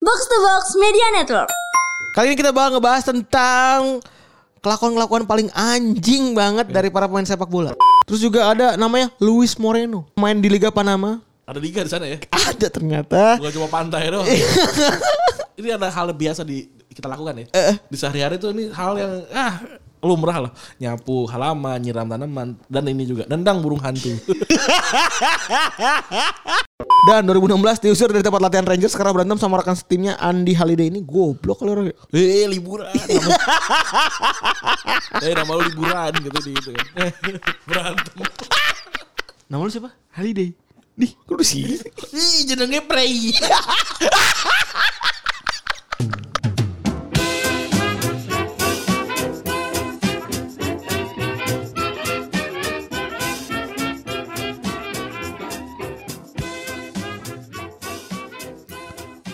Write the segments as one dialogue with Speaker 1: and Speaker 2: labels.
Speaker 1: Box to Box Media Network.
Speaker 2: Kali ini kita bakal ngebahas tentang kelakuan-kelakuan paling anjing banget dari para pemain sepak bola. Terus juga ada namanya Luis Moreno, main di Liga Panama.
Speaker 3: Ada liga di sana ya.
Speaker 2: Ada ternyata.
Speaker 3: Bukan cuma pantai doang. ini ada hal biasa di kita lakukan ya.
Speaker 2: Eh.
Speaker 3: Di sehari-hari tuh ini hal yang ah lumrah loh. Nyapu halaman, nyiram tanaman dan ini juga nendang burung hantu.
Speaker 2: Dan 2016 diusir dari tempat latihan Rangers karena berantem sama rekan setimnya Andy Halliday ini goblok kali orang.
Speaker 3: eh liburan. Nama- eh nama lu liburan gitu di gitu kan. Berantem.
Speaker 2: Nama lu siapa? Halliday. Nih, kok lu sih?
Speaker 3: Ih jenenge Prey.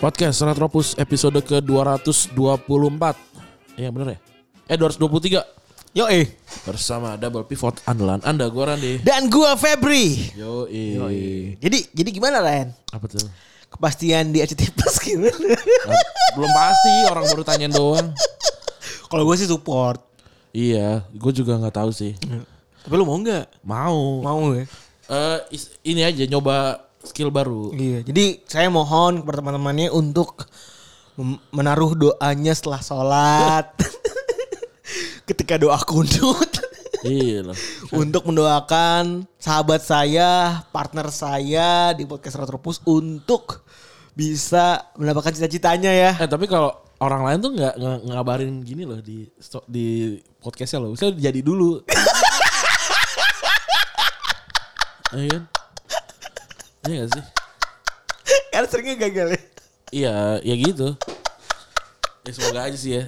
Speaker 3: Podcast Retropus episode ke-224 Iya bener ya? Eh 223
Speaker 2: Yo eh.
Speaker 3: Bersama Double Pivot Andalan Anda Gue Randi
Speaker 2: Dan gua Febri.
Speaker 3: Yoi
Speaker 2: Jadi jadi gimana Ren?
Speaker 3: Apa tuh?
Speaker 2: Kepastian di ACT Plus gimana?
Speaker 3: Belum pasti orang baru tanyain doang
Speaker 2: Kalau gua sih support.
Speaker 3: Iya, gue juga nggak tahu sih.
Speaker 2: Tapi lu mau nggak?
Speaker 3: Mau.
Speaker 2: Mau ya.
Speaker 3: Eh is- ini aja nyoba skill baru.
Speaker 2: Iya, jadi saya mohon kepada teman-temannya untuk mem- menaruh doanya setelah sholat. Ketika doa kunut.
Speaker 3: iya loh.
Speaker 2: untuk mendoakan sahabat saya, partner saya di podcast Retropus untuk bisa mendapatkan cita-citanya ya.
Speaker 3: Eh tapi kalau orang lain tuh nggak nggak ngabarin gini loh di sto- di podcastnya loh. Bisa jadi dulu. Iya kan? Iya gak sih?
Speaker 2: Karena seringnya gagal ya.
Speaker 3: Iya, ya gitu. Ya semoga aja sih ya.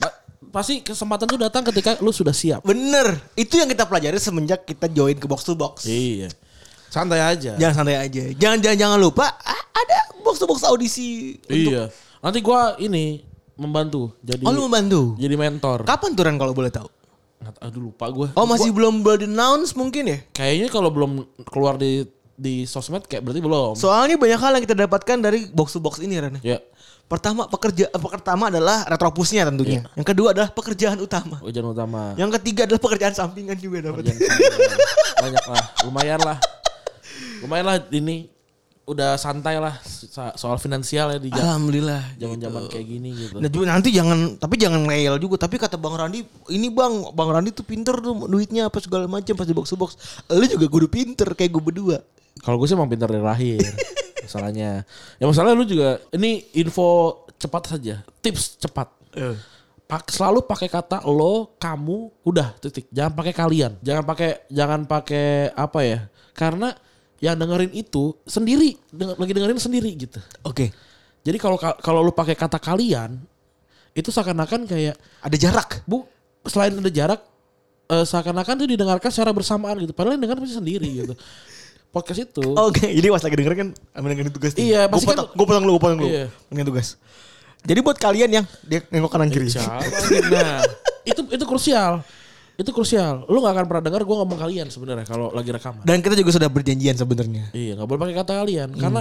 Speaker 3: Pa- Pasti kesempatan tuh datang ketika lu sudah siap.
Speaker 2: Bener, itu yang kita pelajari semenjak kita join ke box to box.
Speaker 3: Iya. Santai aja.
Speaker 2: Jangan santai aja. Jangan jangan jangan lupa a- ada box to box audisi.
Speaker 3: Iya. Nanti gua ini membantu jadi
Speaker 2: Oh, lu membantu.
Speaker 3: jadi mentor.
Speaker 2: Kapan tuh Ren kalau boleh tahu?
Speaker 3: Nggak- Aduh lupa gua.
Speaker 2: Oh masih belum belum announce mungkin ya?
Speaker 3: Kayaknya kalau belum keluar di di sosmed kayak berarti belum.
Speaker 2: Soalnya banyak hal yang kita dapatkan dari box to box ini Ren.
Speaker 3: ya.
Speaker 2: Pertama pekerja eh, pertama adalah retropusnya tentunya. Yang kedua adalah pekerjaan utama.
Speaker 3: Hujan Oh, utama.
Speaker 2: Yang ketiga adalah pekerjaan sampingan juga dapat.
Speaker 3: Hujan utama. Banyak lah. Lumayan lah. Lumayan lah ini udah santai lah so- soal finansial ya di ja-
Speaker 2: Alhamdulillah.
Speaker 3: zaman-zaman kayak gini gitu.
Speaker 2: Ah, Nah, juga nanti jangan tapi jangan ngeyel juga tapi kata Bang Randi ini Bang Bang Randi tuh pinter tuh duitnya apa segala macam pas di box to box. Lu juga kudu pinter kayak gue berdua.
Speaker 3: Kalau gue sih emang pintar dari lahir. masalahnya. Ya masalahnya lu juga ini info cepat saja. Tips cepat. Pak, selalu pakai kata lo, kamu, udah titik. Jangan pakai kalian. Jangan pakai jangan pakai apa ya? Karena yang dengerin itu sendiri, denger- lagi dengerin sendiri gitu.
Speaker 2: Oke.
Speaker 3: Jadi kalau ka- kalau lu pakai kata kalian itu seakan-akan kayak
Speaker 2: Ada jarak.
Speaker 3: Bu, selain ada jarak eh, seakan-akan itu didengarkan secara bersamaan gitu. Padahal yang dengar pasti sendiri gitu. Podcast itu
Speaker 2: Oke, Oh, jadi pas lagi dengerin kan mendengarin tugas. nih.
Speaker 3: Iya,
Speaker 2: gua
Speaker 3: pasti kan-
Speaker 2: potong, gua potong lu, gua potong lu.
Speaker 3: Iya.
Speaker 2: Mendengarin tugas. Jadi buat kalian yang Iya. dia nengok kanan kiri.
Speaker 3: nah, itu itu krusial. Itu krusial. Lu nggak akan pernah dengar gue ngomong kalian sebenarnya kalau lagi rekaman.
Speaker 2: Dan kita juga sudah berjanjian sebenarnya.
Speaker 3: Iya, nggak boleh pakai kata kalian
Speaker 2: Hmm.
Speaker 3: karena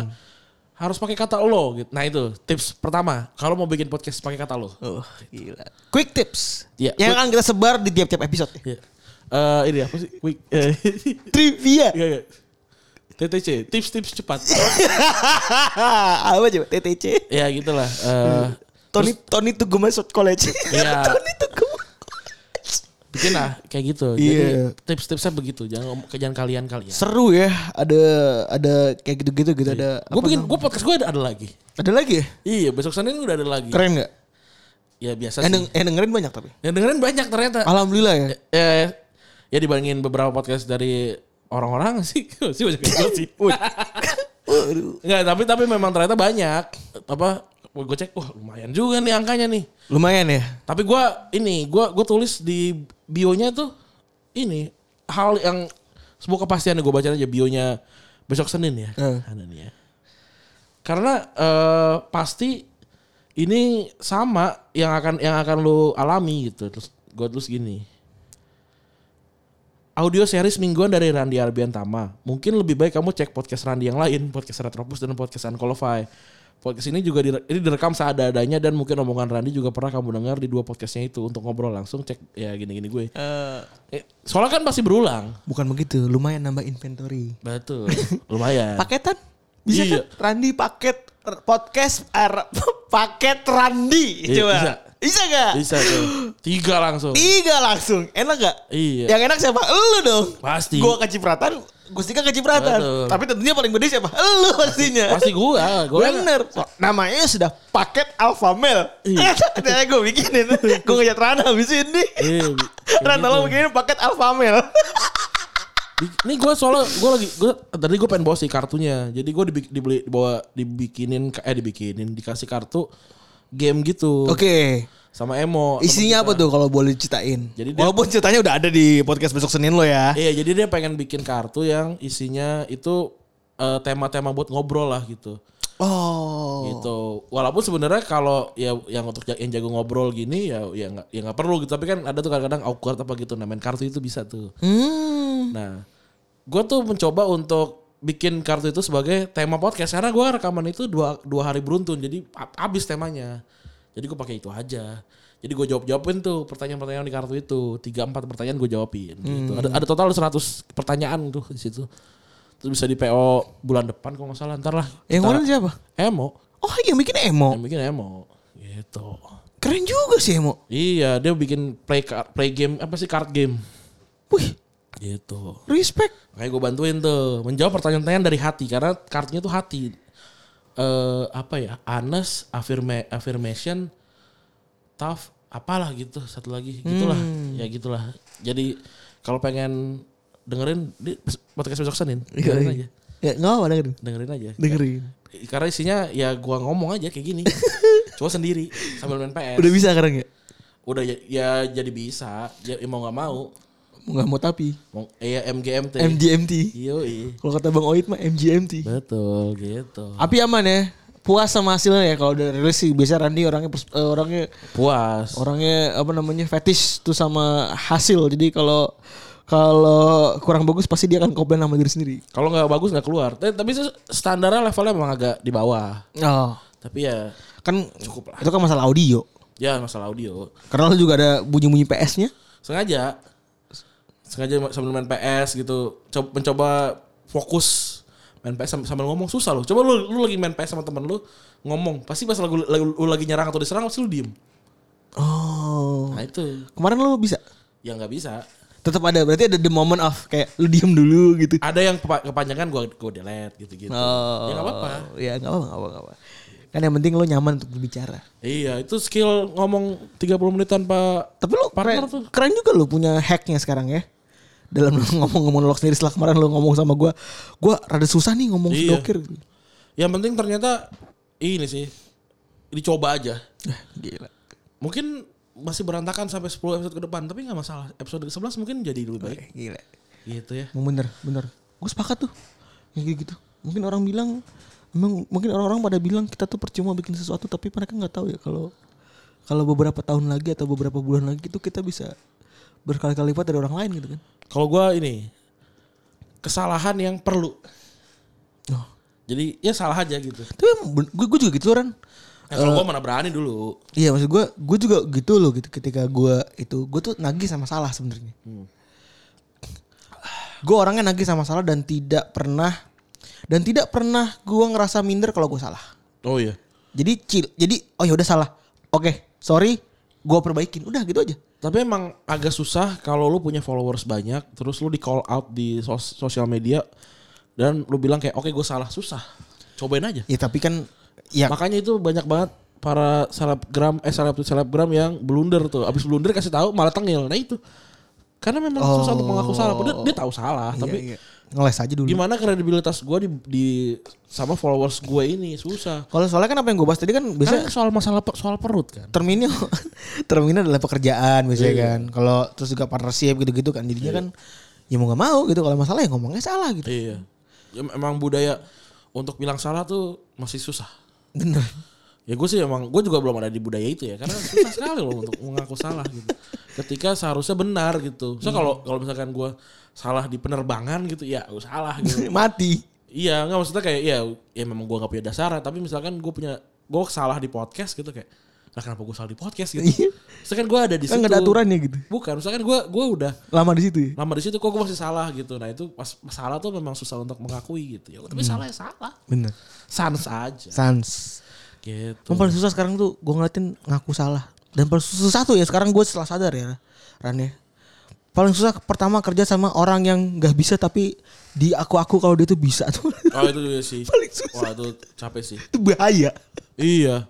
Speaker 3: harus pakai kata lo gitu. Nah, itu tips pertama. Kalau mau bikin podcast pakai kata lo.
Speaker 2: Oh, gila. Quick tips.
Speaker 3: Iya,
Speaker 2: Yang
Speaker 3: quick-
Speaker 2: akan kita sebar di tiap-tiap episode.
Speaker 3: Iya. Eh, ini apa sih? Quick. Eh,
Speaker 2: Trivia.
Speaker 3: iya, iya. TTC, tips-tips cepat.
Speaker 2: Apa coba TTC?
Speaker 3: ya gitulah. Eh,
Speaker 2: Tony Tony Tuguma Shot College.
Speaker 3: Iya.
Speaker 2: Tony Tuguma.
Speaker 3: bikin lah kayak gitu.
Speaker 2: Iya.
Speaker 3: Jadi tips-tipsnya begitu. Jangan ngom- jangan kalian kalian.
Speaker 2: Seru ya, ada ada kayak gitu-gitu gitu ada
Speaker 3: Gue
Speaker 2: apa
Speaker 3: bikin
Speaker 2: namanya?
Speaker 3: gue podcast gue ada, ada lagi.
Speaker 2: ada lagi ya?
Speaker 3: Iya, besok Senin udah ada lagi.
Speaker 2: Keren nggak?
Speaker 3: Ya
Speaker 2: Yang,
Speaker 3: biasa sih.
Speaker 2: deng- yang dengerin banyak tapi.
Speaker 3: Yang dengerin banyak ternyata.
Speaker 2: Alhamdulillah ya.
Speaker 3: Eh, ya dibandingin beberapa podcast dari orang-orang sih sih banyak yang ikut sih.
Speaker 2: Waduh.
Speaker 3: Enggak, tapi tapi memang ternyata banyak. Apa gue cek, wah lumayan juga nih angkanya nih.
Speaker 2: Lumayan ya.
Speaker 3: Tapi gua ini, gua gua tulis di bionya tuh ini hal yang sebuah kepastian gue baca aja bionya besok Senin ya.
Speaker 2: Eh.
Speaker 3: Ada nih ya. Karena eh, pasti ini sama yang akan yang akan lu alami gitu. Terus gue tulis gini. Audio series mingguan dari Randi Arbian Tama. Mungkin lebih baik kamu cek podcast Randi yang lain, podcast Retropus dan podcast Unqualified. Podcast ini juga dire- ini direkam seadanya dan mungkin omongan Randy juga pernah kamu dengar di dua podcastnya itu untuk ngobrol langsung cek ya gini-gini gue.
Speaker 4: Eh,
Speaker 3: Eh, soalnya kan pasti berulang.
Speaker 2: Bukan begitu, lumayan nambah inventory.
Speaker 3: Betul. Lumayan.
Speaker 2: Paketan? Bisa
Speaker 3: Eh. Iya.
Speaker 2: kan? Randi paket r- podcast r- paket Randi
Speaker 3: Iya,
Speaker 2: coba.
Speaker 3: bisa.
Speaker 2: Bisa gak?
Speaker 3: Bisa tuh. Tiga langsung.
Speaker 2: Tiga langsung. Enak gak?
Speaker 3: Iya.
Speaker 2: Yang enak siapa? Elu dong.
Speaker 3: Pasti.
Speaker 2: Gua kecipratan, Gustika kecipratan.
Speaker 3: Betul.
Speaker 2: Tapi tentunya paling gede siapa? Elu pastinya.
Speaker 3: Pasti gua, gua
Speaker 2: Bener. So, namanya sudah paket Alpha Male.
Speaker 3: Iya.
Speaker 2: Ada gue bikinin. gue ngajak Rana habis ini.
Speaker 3: Iya, bi- kayak
Speaker 2: Rana lo bikinin paket Alpha Male.
Speaker 3: Ini gue soalnya gue lagi gue tadi gue pengen bawa sih kartunya. Jadi gue dibeli bawa dibikinin eh dibikinin dikasih kartu game gitu.
Speaker 2: Oke.
Speaker 3: Sama Emo.
Speaker 2: Isinya apa tuh kalau boleh ceritain?
Speaker 3: Jadi dia-
Speaker 2: Walaupun ceritanya udah ada di podcast besok Senin lo ya.
Speaker 3: Iya, jadi dia pengen bikin kartu yang isinya itu eh, tema-tema buat ngobrol lah gitu.
Speaker 2: Oh.
Speaker 3: Gitu. Walaupun sebenarnya kalau ya yang untuk ja- yang jago ngobrol gini ya ya nggak ya nggak perlu gitu. Tapi kan ada tuh kadang-kadang awkward apa gitu. Nah main kartu itu bisa tuh.
Speaker 2: Hmm.
Speaker 3: Nah, gue tuh mencoba untuk bikin kartu itu sebagai tema podcast karena gue rekaman itu dua, dua hari beruntun jadi ab- abis temanya jadi gue pakai itu aja jadi gue jawab jawabin tuh pertanyaan-pertanyaan di kartu itu tiga empat pertanyaan gue jawabin gitu ada, ada total 100 pertanyaan tuh di situ terus bisa di PO bulan depan kalau nggak salah ntar lah
Speaker 2: Yang
Speaker 3: Kita-
Speaker 2: Eh, orang siapa?
Speaker 3: Emo
Speaker 2: Oh yang bikin emo.
Speaker 3: yang bikin Emo gitu
Speaker 2: Keren juga sih emo.
Speaker 3: iya dia bikin play card- play game apa sih card game
Speaker 2: Wih
Speaker 3: gitu
Speaker 2: respect.
Speaker 3: Makanya gue bantuin tuh menjawab pertanyaan-pertanyaan dari hati karena kartunya tuh hati. Eh apa ya? Honest, affirma- affirmation, tough, apalah gitu satu lagi gitulah. Ya gitulah. Jadi kalau pengen dengerin di podcast besok Senin, dengerin aja.
Speaker 2: Ya nggak apa dengerin.
Speaker 3: Iya, Dengerin aja.
Speaker 2: Dengerin.
Speaker 3: Karena isinya ya gua ngomong aja kayak gini. Cuma sendiri sambil main PS.
Speaker 2: Udah bisa sekarang ya?
Speaker 3: Udah ya, ya jadi bisa. Ya, mau nggak mau.
Speaker 2: Nggak mau tapi.
Speaker 3: Mau eh, ya MGMT.
Speaker 2: MGMT.
Speaker 3: Yoi.
Speaker 2: Kalau kata Bang Oit mah MGMT.
Speaker 3: Betul gitu.
Speaker 2: Api aman ya. Puas sama hasilnya ya kalau udah rilis sih biasa Randy orangnya pers- eh, orangnya
Speaker 3: Puas.
Speaker 2: Oh. orangnya apa namanya fetish tuh sama hasil. Jadi kalau kalau kurang bagus pasti dia akan komplain sama diri sendiri.
Speaker 3: Kalau nggak bagus nggak keluar. Tapi, tapi se- standarnya levelnya memang agak di bawah.
Speaker 2: Oh.
Speaker 3: Tapi ya,
Speaker 2: Kan Itu kan masalah audio.
Speaker 3: ya masalah audio.
Speaker 2: Karena lu juga ada bunyi-bunyi PS-nya.
Speaker 3: Sengaja, sengaja ma- sambil main PS gitu, co- mencoba fokus main PS sam- sambil ngomong susah loh. Coba lu, lu lagi main PS sama temen lu ngomong, pasti pas lagu, lagu- lu lagi nyerang atau diserang pasti lu diem.
Speaker 2: Oh.
Speaker 3: Nah itu
Speaker 2: Kemarin lu bisa.
Speaker 3: yang nggak bisa.
Speaker 2: Tetap ada. Berarti ada the moment of kayak lu diem dulu gitu.
Speaker 3: Ada yang kepa- kepanjangan gua gua delete gitu-gitu. Ya nggak apa-apa.
Speaker 2: Ya nggak apa-apa, nggak apa-apa. nggak apa-apa. Kan yang penting lu nyaman untuk berbicara.
Speaker 3: Iya, itu skill ngomong 30 menit tanpa
Speaker 2: Tapi lu
Speaker 3: Partner
Speaker 2: keren,
Speaker 3: tuh.
Speaker 2: keren juga lu punya hacknya sekarang ya. Dalam lu ngomong-ngomong lo sendiri setelah kemarin lu ngomong sama gua, gua rada susah nih ngomong
Speaker 3: Iya.
Speaker 2: sedokir.
Speaker 3: Yang penting ternyata ini sih dicoba aja.
Speaker 2: Eh, Gila.
Speaker 3: Mungkin masih berantakan sampai 10 episode ke depan, tapi nggak masalah. Episode ke-11 mungkin jadi lebih baik.
Speaker 2: Eh, Gila.
Speaker 3: Gitu ya.
Speaker 2: Emang bener, bener. Gue sepakat tuh. Ya kayak gitu. Mungkin orang bilang, emang mungkin orang-orang pada bilang kita tuh percuma bikin sesuatu, tapi mereka nggak tahu ya kalau kalau beberapa tahun lagi atau beberapa bulan lagi itu kita bisa berkali-kali lipat dari orang lain gitu kan.
Speaker 3: Kalau gua ini kesalahan yang perlu.
Speaker 2: Oh.
Speaker 3: Jadi ya salah aja gitu.
Speaker 2: Tapi gue, gue juga gitu loh, Ran.
Speaker 3: Nah, kalau gua mana berani dulu.
Speaker 2: Iya maksud gue, gue juga gitu loh gitu ketika gue itu, gue tuh nagih sama salah sebenarnya.
Speaker 3: Hmm.
Speaker 2: Gue orangnya nagih sama salah dan tidak pernah dan tidak pernah gue ngerasa minder kalau gue salah.
Speaker 3: Oh iya.
Speaker 2: Jadi chill, jadi oh ya udah salah, oke sorry, gue perbaikin, udah gitu aja.
Speaker 3: Tapi emang agak susah kalau lu punya followers banyak, terus lu di call out di sos- sosial media dan lu bilang kayak oke gue salah susah. Cobain aja.
Speaker 2: Ya tapi kan ya
Speaker 3: Makanya itu banyak banget para selebgram eh seleb selebgram yang blunder tuh. Abis blunder kasih tahu malah tengil. Nah itu. Karena memang susah untuk mengaku salah. Padahal dia tahu salah,
Speaker 2: iya,
Speaker 3: tapi
Speaker 2: iya. ngeles aja dulu.
Speaker 3: gimana kredibilitas gue di, di- sama followers gue ini susah.
Speaker 2: Kalau soalnya kan apa yang gue bahas tadi kan biasanya
Speaker 3: Karena soal masalah pe- soal perut kan.
Speaker 2: term ini term ini adalah pekerjaan biasanya kan. Kalau terus juga partnership gitu-gitu kan jadinya kan ya mau nggak mau gitu kalau masalah ya ngomongnya salah gitu.
Speaker 3: Iya. Ya, emang budaya untuk bilang salah tuh masih susah.
Speaker 2: Bener.
Speaker 3: Ya gue sih emang gue juga belum ada di budaya itu ya karena susah sekali loh untuk mengaku salah gitu. Ketika seharusnya benar
Speaker 2: Hmm.
Speaker 3: gitu. So kalau kalau misalkan gue salah di penerbangan gitu ya gua salah gitu.
Speaker 2: Mati.
Speaker 3: Iya, nggak maksudnya kayak ya ya memang gua nggak punya dasar, tapi misalkan gua punya gua salah di podcast gitu kayak lah kenapa gua salah di podcast
Speaker 2: Iya.
Speaker 3: gitu. misalkan gua ada di situ.
Speaker 2: Kan nggak ada aturannya gitu.
Speaker 3: Bukan, misalkan gua gua udah
Speaker 2: Lama di situ. ya?
Speaker 3: lama Nah, di situ kok gua masih salah gitu. Nah, itu pas pas salah tuh memang susah untuk mengakui gitu. Ya, tapi salah ya salah.
Speaker 2: Bener.
Speaker 3: Sans aja.
Speaker 2: Sans.
Speaker 3: Gitu.
Speaker 2: Yang paling susah sekarang tuh gue ngeliatin ngaku salah. Dan paling susah tuh ya sekarang gue setelah sadar ya Ran ya. Paling susah pertama kerja sama orang yang gak bisa tapi di aku-aku kalau dia tuh bisa tuh.
Speaker 3: Oh, itu juga sih.
Speaker 2: Paling susah.
Speaker 3: Wah, itu capek sih.
Speaker 2: itu bahaya.
Speaker 3: Iya.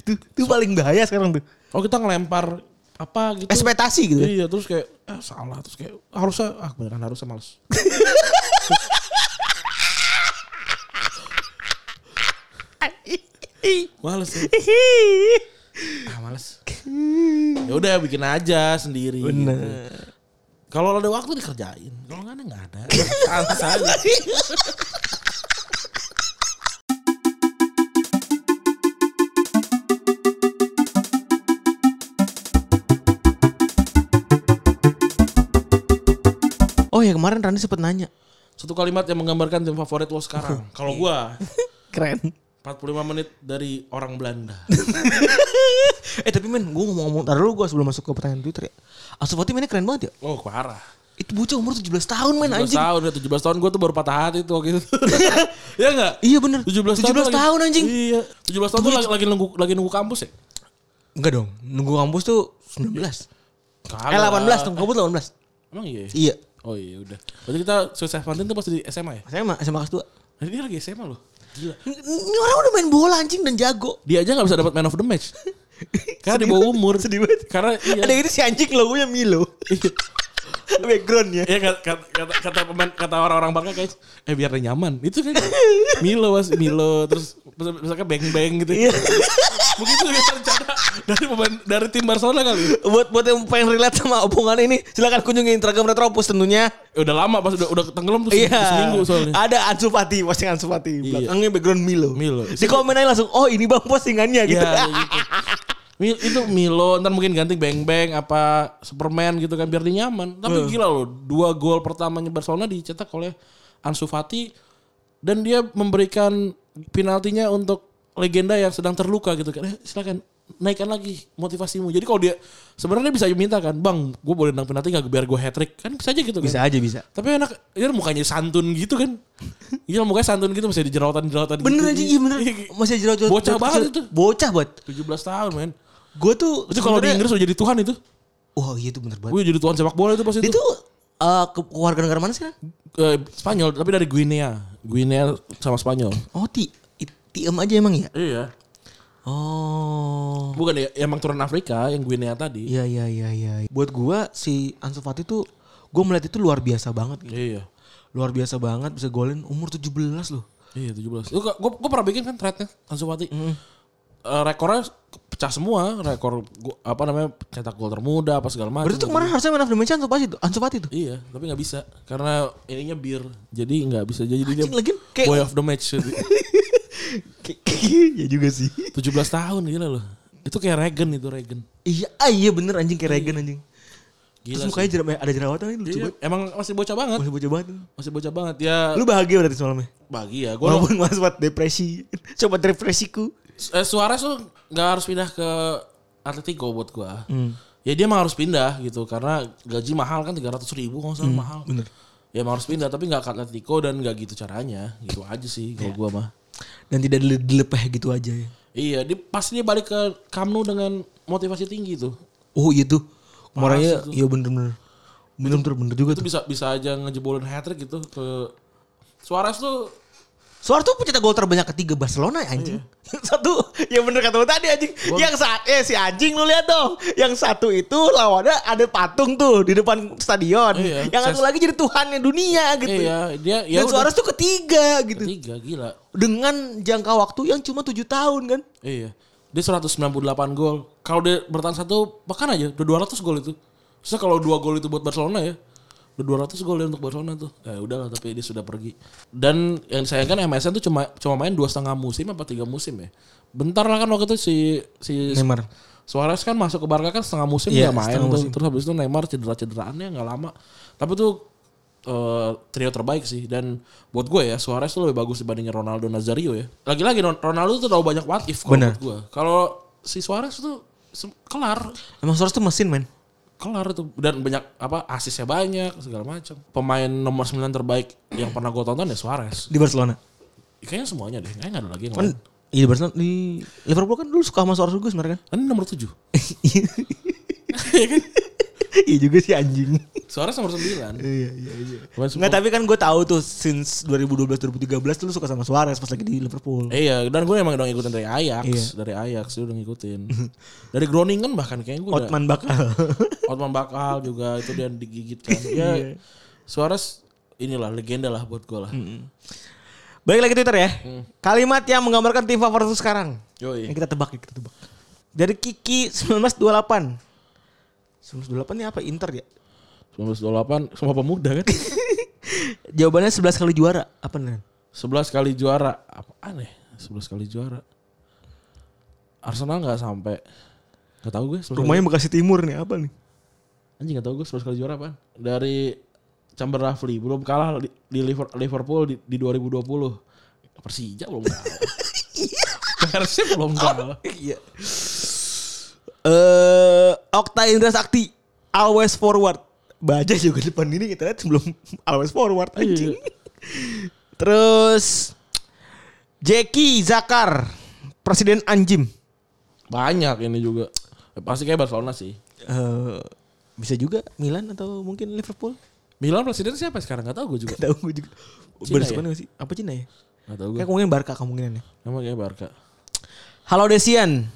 Speaker 2: Itu, itu paling bahaya sekarang tuh.
Speaker 3: Oh, kita ngelempar apa gitu.
Speaker 2: Ekspektasi gitu.
Speaker 3: Iya terus kayak eh, salah terus kayak harusnya ah beneran harusnya males. males ya. Ah males. Ya udah bikin aja sendiri.
Speaker 2: Bener.
Speaker 3: gitu. Kalau ada waktu dikerjain. Kalau nggak ada nggak ada. Alas aja.
Speaker 2: Oh ya kemarin Rani sempet nanya.
Speaker 3: Satu kalimat yang menggambarkan tim favorit lo sekarang.
Speaker 2: Iya.
Speaker 3: Kalau gua
Speaker 2: Keren.
Speaker 3: 45 menit dari orang Belanda.
Speaker 2: eh tapi men gue ngomong-ngomong Ntar dulu gue sebelum masuk ke pertanyaan Twitter ya. Asal Fatih mainnya keren banget ya.
Speaker 3: Oh parah.
Speaker 2: Itu bocah umur 17 tahun men
Speaker 3: 17
Speaker 2: anjing.
Speaker 3: tahun ya 17 tahun gue tuh baru patah hati tuh waktu itu. Iya enggak?
Speaker 2: Iya bener.
Speaker 3: 17 tahun, tuh lagi-
Speaker 2: tahun anjing.
Speaker 3: Iya. 17 tahun tuh lagi, lagi nunggu lagi nunggu kampus ya?
Speaker 2: Enggak dong. Nunggu kampus tuh 19.
Speaker 3: Kagak.
Speaker 2: Eh 18 dong, kamu 18.
Speaker 3: Emang iya. ya?
Speaker 2: Iya.
Speaker 3: Oh iya udah. Berarti kita Swiss Valentine tuh pasti di SMA ya?
Speaker 2: Saya mah SMA kelas 2.
Speaker 3: Nah, Ini lagi SMA loh. Gila.
Speaker 2: Ini orang udah main bola anjing dan jago.
Speaker 3: Dia aja gak bisa dapat man of the match. Karena di bawah umur. Sedih banget. Karena iya.
Speaker 2: Ada itu si anjing logonya Milo. Backgroundnya.
Speaker 3: Iya kata, kata, kata, kata pemain kata orang-orang Barca guys, eh biar dia nyaman. Itu kan Milo mas, Milo terus misalkan beng beng gitu.
Speaker 2: Iya.
Speaker 3: Mungkin itu biasa rencana dari pemain dari tim Barcelona kali.
Speaker 2: buat buat yang pengen relate sama omongan ini, silakan kunjungi Instagram Retropus tentunya.
Speaker 3: Eh, Udah lama pas udah, udah tenggelam tuh seminggu,
Speaker 2: Iya.
Speaker 3: seminggu soalnya. Iya.
Speaker 2: Ada Ansu Fati, posting Ansu Fati. Belakangnya background Milo.
Speaker 3: Milo.
Speaker 2: Di komen aja langsung, "Oh, ini Bang postingannya."
Speaker 3: Iya
Speaker 2: gitu.
Speaker 3: kayak gitu. Mil, itu Milo ntar mungkin ganti Beng Beng apa Superman gitu kan biar dia nyaman. Tapi gila loh, dua gol pertamanya Barcelona dicetak oleh Ansu Fati dan dia memberikan penaltinya untuk legenda yang sedang terluka gitu kan. Eh, silakan naikkan lagi motivasimu. Jadi kalau dia sebenarnya bisa minta kan, Bang, gue boleh nendang penalti gak biar gue hat trick kan bisa aja gitu kan.
Speaker 2: aja bisa.
Speaker 3: Tapi enak, ya mukanya santun gitu kan. Iya mukanya santun gitu masih di jerawatan-jerawatan gitu.
Speaker 2: Bener anjing, iya bener. Masih jerawat
Speaker 3: Bocah banget itu.
Speaker 2: Bocah banget.
Speaker 3: 17 tahun men.
Speaker 2: Gue tuh
Speaker 3: Itu kalau di
Speaker 2: sebenarnya-
Speaker 3: Inggris udah jadi Tuhan itu.
Speaker 2: Wah, iya itu bener banget.
Speaker 3: Wih iya jadi Tuhan sepak bola itu pas itu.
Speaker 2: Dia tuh eh, ke keluarga negara mana sih? Ran?
Speaker 3: Eh, Spanyol tapi dari Guinea. Guinea sama Spanyol.
Speaker 2: Oh, ti i- tiem aja emang ya?
Speaker 3: Iya.
Speaker 2: Oh.
Speaker 3: Bukan ya emang turun Afrika yang Guinea tadi.
Speaker 2: Iya iya iya iya. Buat gua si Ansu Fati tuh gua melihat itu luar biasa banget gitu.
Speaker 3: Iya.
Speaker 2: Luar biasa banget bisa golin umur 17 loh.
Speaker 3: Iya 17. Itu gue gue pernah bikin kan threadnya Ansu Fati. Eh, rekornya pecah semua, rekor gua- apa namanya cetak gol termuda apa segala macam.
Speaker 2: Berarti tuh kemarin harusnya man of the match Ansu Fati tuh. Ansu Fati tuh.
Speaker 3: Iya, tapi nggak bisa karena ininya bir, jadi nggak bisa jadi dia
Speaker 2: Anjing, lagian kayak-
Speaker 3: boy of the match.
Speaker 2: ya juga sih.
Speaker 3: 17 tahun gila loh. Itu kayak Regen itu Regen.
Speaker 2: Iya, ah, iya bener anjing kayak Regan anjing. Terus
Speaker 3: Gila
Speaker 2: mukanya jera- ada jerawatan itu lucu
Speaker 3: Iya,
Speaker 2: banget.
Speaker 3: emang masih bocah banget.
Speaker 2: Masih bocah banget. tuh.
Speaker 3: Masih bocah banget ya.
Speaker 2: Lu bahagia berarti semalamnya.
Speaker 3: bagi ya. Gua
Speaker 2: Walaupun mas buat depresi. Coba depresiku.
Speaker 3: eh, Suarez tuh nggak harus pindah ke Atletico buat gua.
Speaker 2: Hmm.
Speaker 3: Ya dia emang harus pindah gitu karena gaji mahal kan 300 ribu kalau nggak salah mahal.
Speaker 2: bener.
Speaker 3: Ya emang harus pindah tapi nggak ke Atletico dan nggak gitu caranya. Gitu aja sih
Speaker 2: Iya.
Speaker 3: kalau gua mah.
Speaker 2: Dan tidak dile- dilepeh gitu aja ya.
Speaker 3: Iya, dia pasti dia balik ke Kamnu dengan motivasi tinggi tuh.
Speaker 2: Oh iya tuh. Kemarinnya iya bener-bener. Bener-bener bener juga
Speaker 3: Itu
Speaker 2: tuh.
Speaker 3: bisa bisa aja ngejebolin hat trick gitu ke Suarez tuh
Speaker 2: Suara tuh pencetak gol terbanyak ketiga Barcelona ya anjing.
Speaker 3: Iya.
Speaker 2: satu, ya bener kata lu tadi anjing. Yang saat eh si anjing lu lihat dong. Yang satu itu lawannya ada patung tuh di depan stadion.
Speaker 3: Iya.
Speaker 2: Yang satu
Speaker 3: Ses-
Speaker 2: lagi jadi tuhannya dunia gitu.
Speaker 3: iya dia ya
Speaker 2: Dan Suarez tuh ketiga gitu.
Speaker 3: tiga gila.
Speaker 2: Dengan jangka waktu yang cuma tujuh tahun kan.
Speaker 3: Iya. Dia 198 gol. Kalau dia bertahan satu pekan aja udah 200 gol itu. Terus kalau dua gol itu buat Barcelona ya. Udah 200 gol ya untuk Barcelona tuh. Ya udahlah tapi dia sudah pergi. Dan yang disayangkan MSN tuh cuma cuma main dua setengah musim apa tiga musim ya. Bentar lah kan waktu itu si si
Speaker 2: Neymar.
Speaker 3: Suarez kan masuk ke Barca kan setengah musim
Speaker 2: Iya,
Speaker 3: nggak main
Speaker 2: setengah
Speaker 3: tuh.
Speaker 2: musim.
Speaker 3: Terus habis itu Neymar cedera-cederaannya nggak lama. Tapi tuh eh, trio terbaik sih dan buat gue ya Suarez tuh lebih bagus dibandingin Ronaldo Nazario ya. Lagi-lagi Ron- Ronaldo tuh tahu banyak what if kalau
Speaker 2: Bener.
Speaker 3: buat gue. Kalau si Suarez tuh se- kelar
Speaker 2: Emang Suarez tuh mesin men.
Speaker 3: kelar tuh dan banyak apa asisnya banyak segala macam. Pemain nomor 9 terbaik yang pernah gue tonton ya Suarez.
Speaker 2: Di Barcelona.
Speaker 3: Kayaknya semuanya deh. Kayaknya nggak ada lagi yang
Speaker 2: Kan
Speaker 3: lain.
Speaker 2: iya di Barcelona di Liverpool kan dulu suka sama Suarez juga sebenarnya kan.
Speaker 3: Kan ini nomor 7.
Speaker 2: Iya kan? Iya juga sih anjing.
Speaker 3: Suarez nomor
Speaker 2: Iya
Speaker 3: 9.
Speaker 2: iya iya.
Speaker 3: Pemain
Speaker 2: Nggak tapi kan gue tahu tuh since 2012 2013 tuh lu suka sama Suarez pas lagi di Liverpool.
Speaker 3: Iya, dan gue emang udah ngikutin dari Ajax,
Speaker 2: Iya.
Speaker 3: dari Ajax gue udah ngikutin. Dari Groningen kan bahkan kayaknya gue udah
Speaker 2: Otman bakal.
Speaker 3: Otman Bakal juga itu dia digigit kan.
Speaker 2: Iya.
Speaker 3: Ya Suarez inilah legenda lah buat gue lah.
Speaker 2: Balik lagi Twitter ya. Kalimat yang menggambarkan tim favorit lu sekarang.
Speaker 3: Yoi.
Speaker 2: Yang kita tebak, yang kita tebak. Dari Kiki 1928. 1928 ini apa? Inter ya?
Speaker 3: 1928 semua pemuda kan.
Speaker 2: Jawabannya 11 kali juara. Apa nih?
Speaker 3: 11 kali juara. Apa aneh? 11 kali juara. Arsenal nggak sampai. Gak tau gue. 11 kali-
Speaker 2: Rumahnya Bekasi Timur nih. Apa nih?
Speaker 3: Anjing gak tau gue 11 kali juara apa. Dari Chamber Rafli belum kalah di, di Liver- Liverpool di, di 2020. Persija belum kalah. Iya. Persib belum kalah.
Speaker 2: Iya. Eh Okta Indra Sakti always forward. Baja juga depan ini kita lihat sebelum always forward anjing. Terus Jeki Zakar Presiden Anjim.
Speaker 3: Banyak ini juga. Pasti kayak Barcelona sih.
Speaker 2: Eh bisa juga Milan atau mungkin Liverpool.
Speaker 3: Milan presiden siapa sekarang? Gak tau gue juga.
Speaker 2: Gak tahu gue juga.
Speaker 3: Cina
Speaker 2: Baris
Speaker 3: ya?
Speaker 2: mana sih? Apa Cina ya?
Speaker 3: Gak tau gue.
Speaker 2: Kayak kemungkinan Barca kemungkinannya.
Speaker 3: Emang kayak Barca.
Speaker 2: Halo Desian.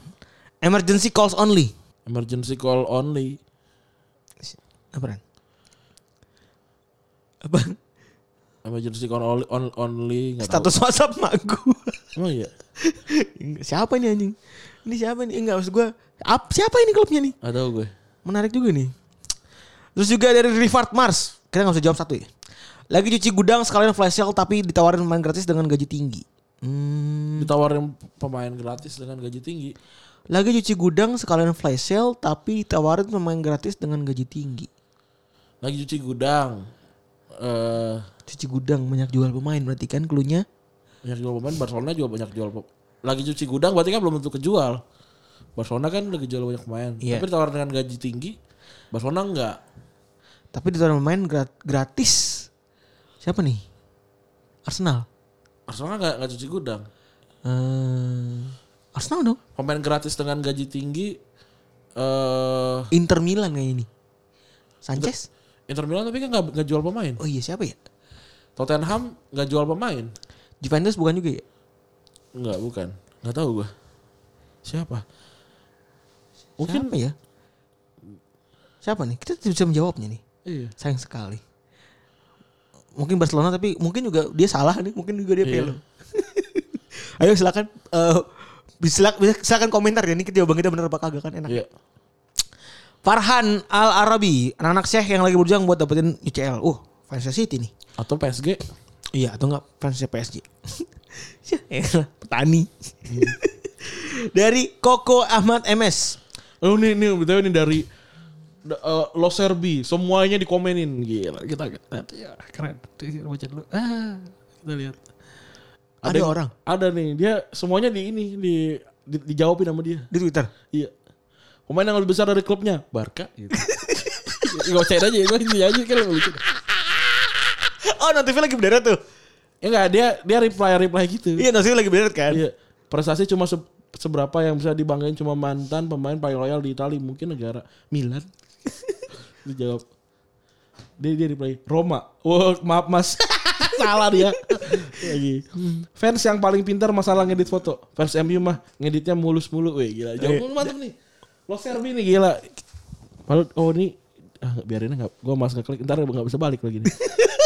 Speaker 2: Emergency calls only.
Speaker 3: Emergency call only.
Speaker 2: Apaan? Apa?
Speaker 3: Emergency call only. On, only. Gak
Speaker 2: Status WhatsApp mak gue.
Speaker 3: Tahu. Emang iya?
Speaker 2: siapa ini anjing? Ini siapa ini? Enggak maksud gue. Ap, siapa ini klubnya nih?
Speaker 3: Gak tau gue.
Speaker 2: Menarik juga nih. Terus juga dari Rivard Mars. Kita nggak usah jawab satu ya. Lagi cuci gudang sekalian flash sale tapi ditawarin main gratis dengan gaji tinggi. Hmm.
Speaker 3: Ditawarin pemain gratis dengan gaji tinggi.
Speaker 2: Lagi cuci gudang sekalian flash sale tapi ditawarin pemain gratis dengan gaji tinggi.
Speaker 3: Lagi cuci gudang. Eh...
Speaker 2: Cuci gudang banyak jual pemain berarti kan klunya.
Speaker 3: banyak jual pemain Barcelona juga banyak jual pem- lagi cuci gudang berarti kan belum tentu kejual Barcelona kan lagi jual banyak pemain
Speaker 2: Iya.
Speaker 3: tapi tawaran dengan gaji tinggi Barcelona enggak
Speaker 2: Tapi ditawarin pemain grat- gratis. Siapa nih? Arsenal.
Speaker 3: Barcelona enggak, enggak cuci gudang
Speaker 2: Eh, Arsenal dong.
Speaker 3: pemain gratis dengan gaji tinggi eh
Speaker 2: Inter Milan kayaknya ini. Sanchez?
Speaker 3: Inter Milan tapi kan enggak, enggak jual pemain
Speaker 2: Oh iya siapa ya?
Speaker 3: Tottenham enggak jual pemain
Speaker 2: Juventus bukan juga ya?
Speaker 3: enggak bukan enggak tahu gua siapa mungkin
Speaker 2: Siapa ya? Siapa nih? Kita tidak bisa menjawabnya nih.
Speaker 3: iya
Speaker 2: Sayang sekali. Mungkin Barcelona tapi mungkin juga dia salah nih. Mungkin juga dia
Speaker 3: Iya.
Speaker 2: pelu. Ayo silakan eh silak- silakan komentar ya ini kita jawaban kita benar apa kagak kan enak.
Speaker 3: iya
Speaker 2: Farhan Al Arabi, anak-anak Syekh yang lagi berjuang buat dapetin UCL. Uh, fans City nih.
Speaker 3: atau PSG
Speaker 2: Iya atau enggak fansnya PSG. ya elah, petani. Hmm. Dari Koko Ahmad MS.
Speaker 3: Oh nih nih betul ini dari da- eh, Lo Serbi semuanya dikomenin gila kita lihat ya keren Di- baca dulu ah kita lihat
Speaker 2: Ada orang?
Speaker 3: ada nih dia semuanya di ini di, di- dijawabin sama dia
Speaker 2: Di Twitter.
Speaker 3: iya pemain yang lebih besar dari klubnya Barca gitu Gak percaya aja gue ini aja kan yang lucu
Speaker 2: Oh notifnya lagi berderet tuh.
Speaker 3: ya enggak dia dia reply reply gitu
Speaker 2: Iya notifnya lagi berderet kan.
Speaker 3: Iya. prestasi cuma se- seberapa yang bisa dibanggain cuma mantan pemain paling loyal di Italia mungkin negara Milan dijawab dia dia reply Roma Wah, maaf mas salah dia lagi fans yang paling pintar masalah ngedit foto fans MU mah ngeditnya mulus mulu weh gila jauh mantep nih lo serbi nih gila Padahal, oh ini ah, biarin aja nggak gue mas ngeklik ntar nggak bisa balik lagi nih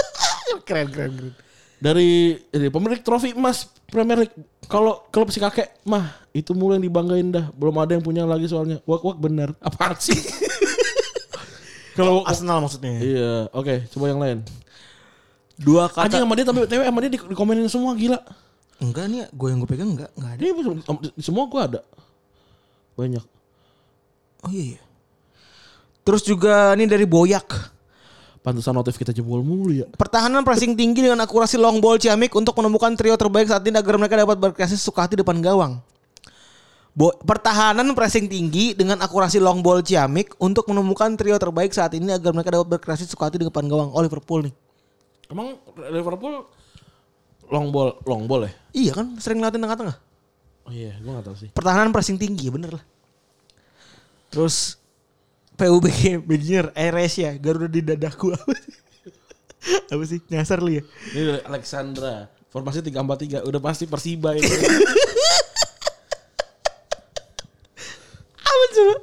Speaker 2: Keren keren keren.
Speaker 3: dari dari pemilik trofi emas Premier League kalau klub si kakek mah itu mulu yang dibanggain dah belum ada yang punya lagi soalnya wak wak bener apa sih kalau wak-
Speaker 2: Arsenal maksudnya. ya?
Speaker 3: iya oke coba yang lain
Speaker 2: Dua kata.
Speaker 3: anjing sama dia tapi tapi sama dia di- dikomenin semua gila
Speaker 2: Enggak nih, gue yang gue pegang enggak, enggak ada.
Speaker 3: ini sem- semua gua ada banyak
Speaker 2: Oh iya. iya. Terus juga ini dari Boyak.
Speaker 3: Pantesan notif kita jebol mulu ya.
Speaker 2: Pertahanan pressing tinggi dengan akurasi long ball Ciamik untuk menemukan trio terbaik saat ini agar mereka dapat berkreasi suka hati depan gawang. Bo- pertahanan pressing tinggi dengan akurasi long ball Ciamik untuk menemukan trio terbaik saat ini agar mereka dapat berkreasi suka hati di depan gawang. Oh Liverpool nih.
Speaker 3: Emang Liverpool long ball long ball ya?
Speaker 2: Iya kan sering latihan tengah-tengah.
Speaker 3: Oh iya, gue gak tahu sih.
Speaker 2: Pertahanan pressing tinggi bener lah. Terus PUBG Engineer RS ya Garuda di dadaku apa sih? apa sih? Nyasar lu ya?
Speaker 3: Ini dari Alexandra. Formasi 343 udah pasti Persiba ini.
Speaker 2: Apa coba?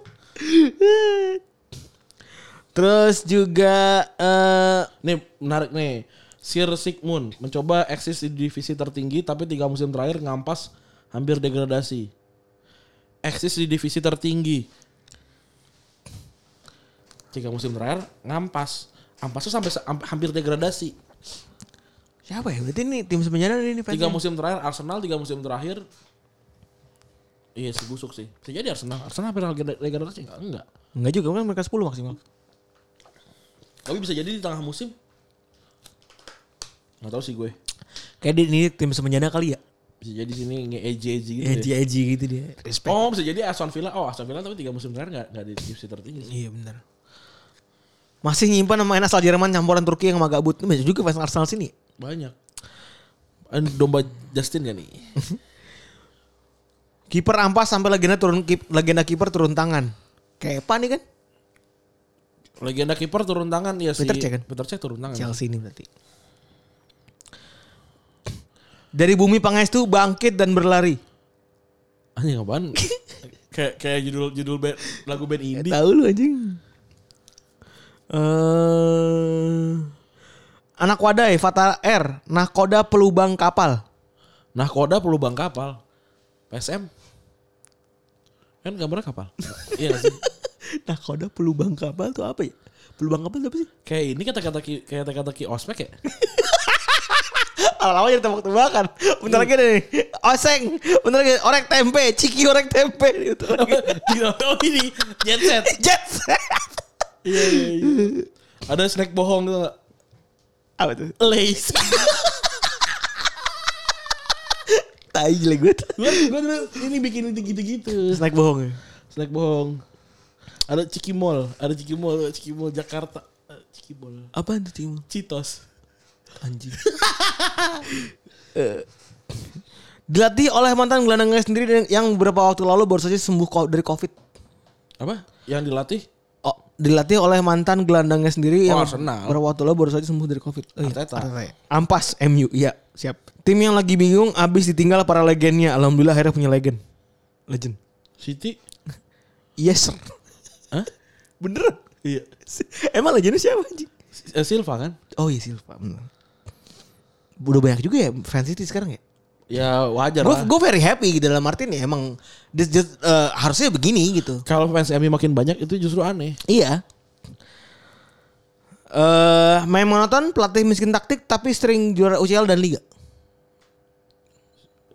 Speaker 2: Terus juga eh
Speaker 3: nih menarik nih. Sir Sigmund mencoba eksis di divisi tertinggi tapi tiga musim terakhir ngampas hampir degradasi. Eksis di divisi tertinggi. Tiga musim terakhir ngampas. Ampasnya sampai sampai- hampir degradasi.
Speaker 2: siapa ya? Berarti ini tim sebenarnya ini fansnya.
Speaker 3: Tiga musim terakhir Arsenal, tiga musim terakhir Iya sih busuk sih. Bisa jadi Arsenal. Arsenal hampir deg- degradasi enggak? Enggak.
Speaker 2: Enggak juga kan mereka 10 maksimal.
Speaker 3: Tapi bisa jadi di tengah musim. Gak tau sih gue.
Speaker 2: Kayak dia ini tim semenjana kali ya.
Speaker 3: Bisa jadi sini nge-EJ-EJ gitu
Speaker 2: Edgy
Speaker 3: ya.
Speaker 2: edgy gitu dia. Respect.
Speaker 3: Oh bisa jadi Aston Villa. Oh Aston Villa tapi tiga musim terakhir gak, nggak di divisi tertinggi sih.
Speaker 2: Iya benar. Masih nyimpan pemain asal Jerman campuran Turki yang sama gabut. Ini banyak juga fans Arsenal sini.
Speaker 3: Banyak. Ini Domba Justin gak nih?
Speaker 2: Kiper ampas sampai legenda turun kip- legenda kiper turun tangan. Kepa nih kan?
Speaker 3: Legenda kiper turun tangan ya si
Speaker 2: Peter Cech kan?
Speaker 3: Peter Cech turun tangan.
Speaker 2: Chelsea ini berarti. Dari bumi pangestu bangkit dan berlari.
Speaker 3: Anjing apaan? kayak kayak judul judul band- lagu band indie.
Speaker 2: Tahu lu anjing. Eh anak wadai Fatal R, nahkoda pelubang kapal.
Speaker 3: Nah koda perlu bang kapal. PSM. Kan gambarnya kapal. iya gak sih?
Speaker 2: Nahkoda pelubang kapal tuh apa ya? Pelubang kapal tuh apa sih?
Speaker 3: Kayak ini kata-kata ki, kayak kata-kata ki ospek ya?
Speaker 2: Lama-lama jadi tebak-tebakan. Bentar lagi ada nih. Oseng. Bentar lagi orek tempe, ciki orek tempe. Gitu.
Speaker 3: oh ini jet set.
Speaker 2: Jets.
Speaker 3: Iya iya iya. Ada snack bohong tuh.
Speaker 2: apa tuh?
Speaker 3: Lace.
Speaker 2: Tai gila gue tuh.
Speaker 3: Gue gue dulu ini bikin gitu-gitu.
Speaker 2: Snack bohong. ya?
Speaker 3: Snack bohong. Ada Ciki Mall, ada Ciki Mall, Ciki Mall Jakarta. Eh, Ciki Mall.
Speaker 2: Apaan tuh Timo?
Speaker 3: Citos.
Speaker 2: Anjing. Eh. Dilatih oleh mantan gelandangnya sendiri dan- yang beberapa waktu lalu baru saja sembuh ko- dari COVID.
Speaker 3: Apa? Yang dilatih?
Speaker 2: Oh, dilatih oleh mantan gelandangnya sendiri
Speaker 3: Oh,
Speaker 2: yang
Speaker 3: Arsenal.
Speaker 2: beberapa waktu lalu baru saja sembuh dari COVID. Oh, iya.
Speaker 3: Arteta.
Speaker 2: Ampas MU, iya siap. Tim yang lagi bingung abis ditinggal para legendnya. Alhamdulillah akhirnya punya legend. Legend.
Speaker 3: Siti?
Speaker 2: Yes sir.
Speaker 3: Hah?
Speaker 2: Beneran?
Speaker 3: Iya.
Speaker 2: Emang legendnya siapa anjing?
Speaker 3: Si- eh, Silva kan?
Speaker 2: Oh iya Silva. bener. Udah banyak juga ya fans City sekarang ya.
Speaker 3: Ya wajar
Speaker 2: Gue
Speaker 3: lah.
Speaker 2: gue very happy gitu dalam artian ya emang this just, eh, harusnya begini gitu.
Speaker 3: Kalau fans MU makin banyak itu justru aneh.
Speaker 2: Iya. Eh main monoton, pelatih miskin taktik tapi sering juara UCL dan liga.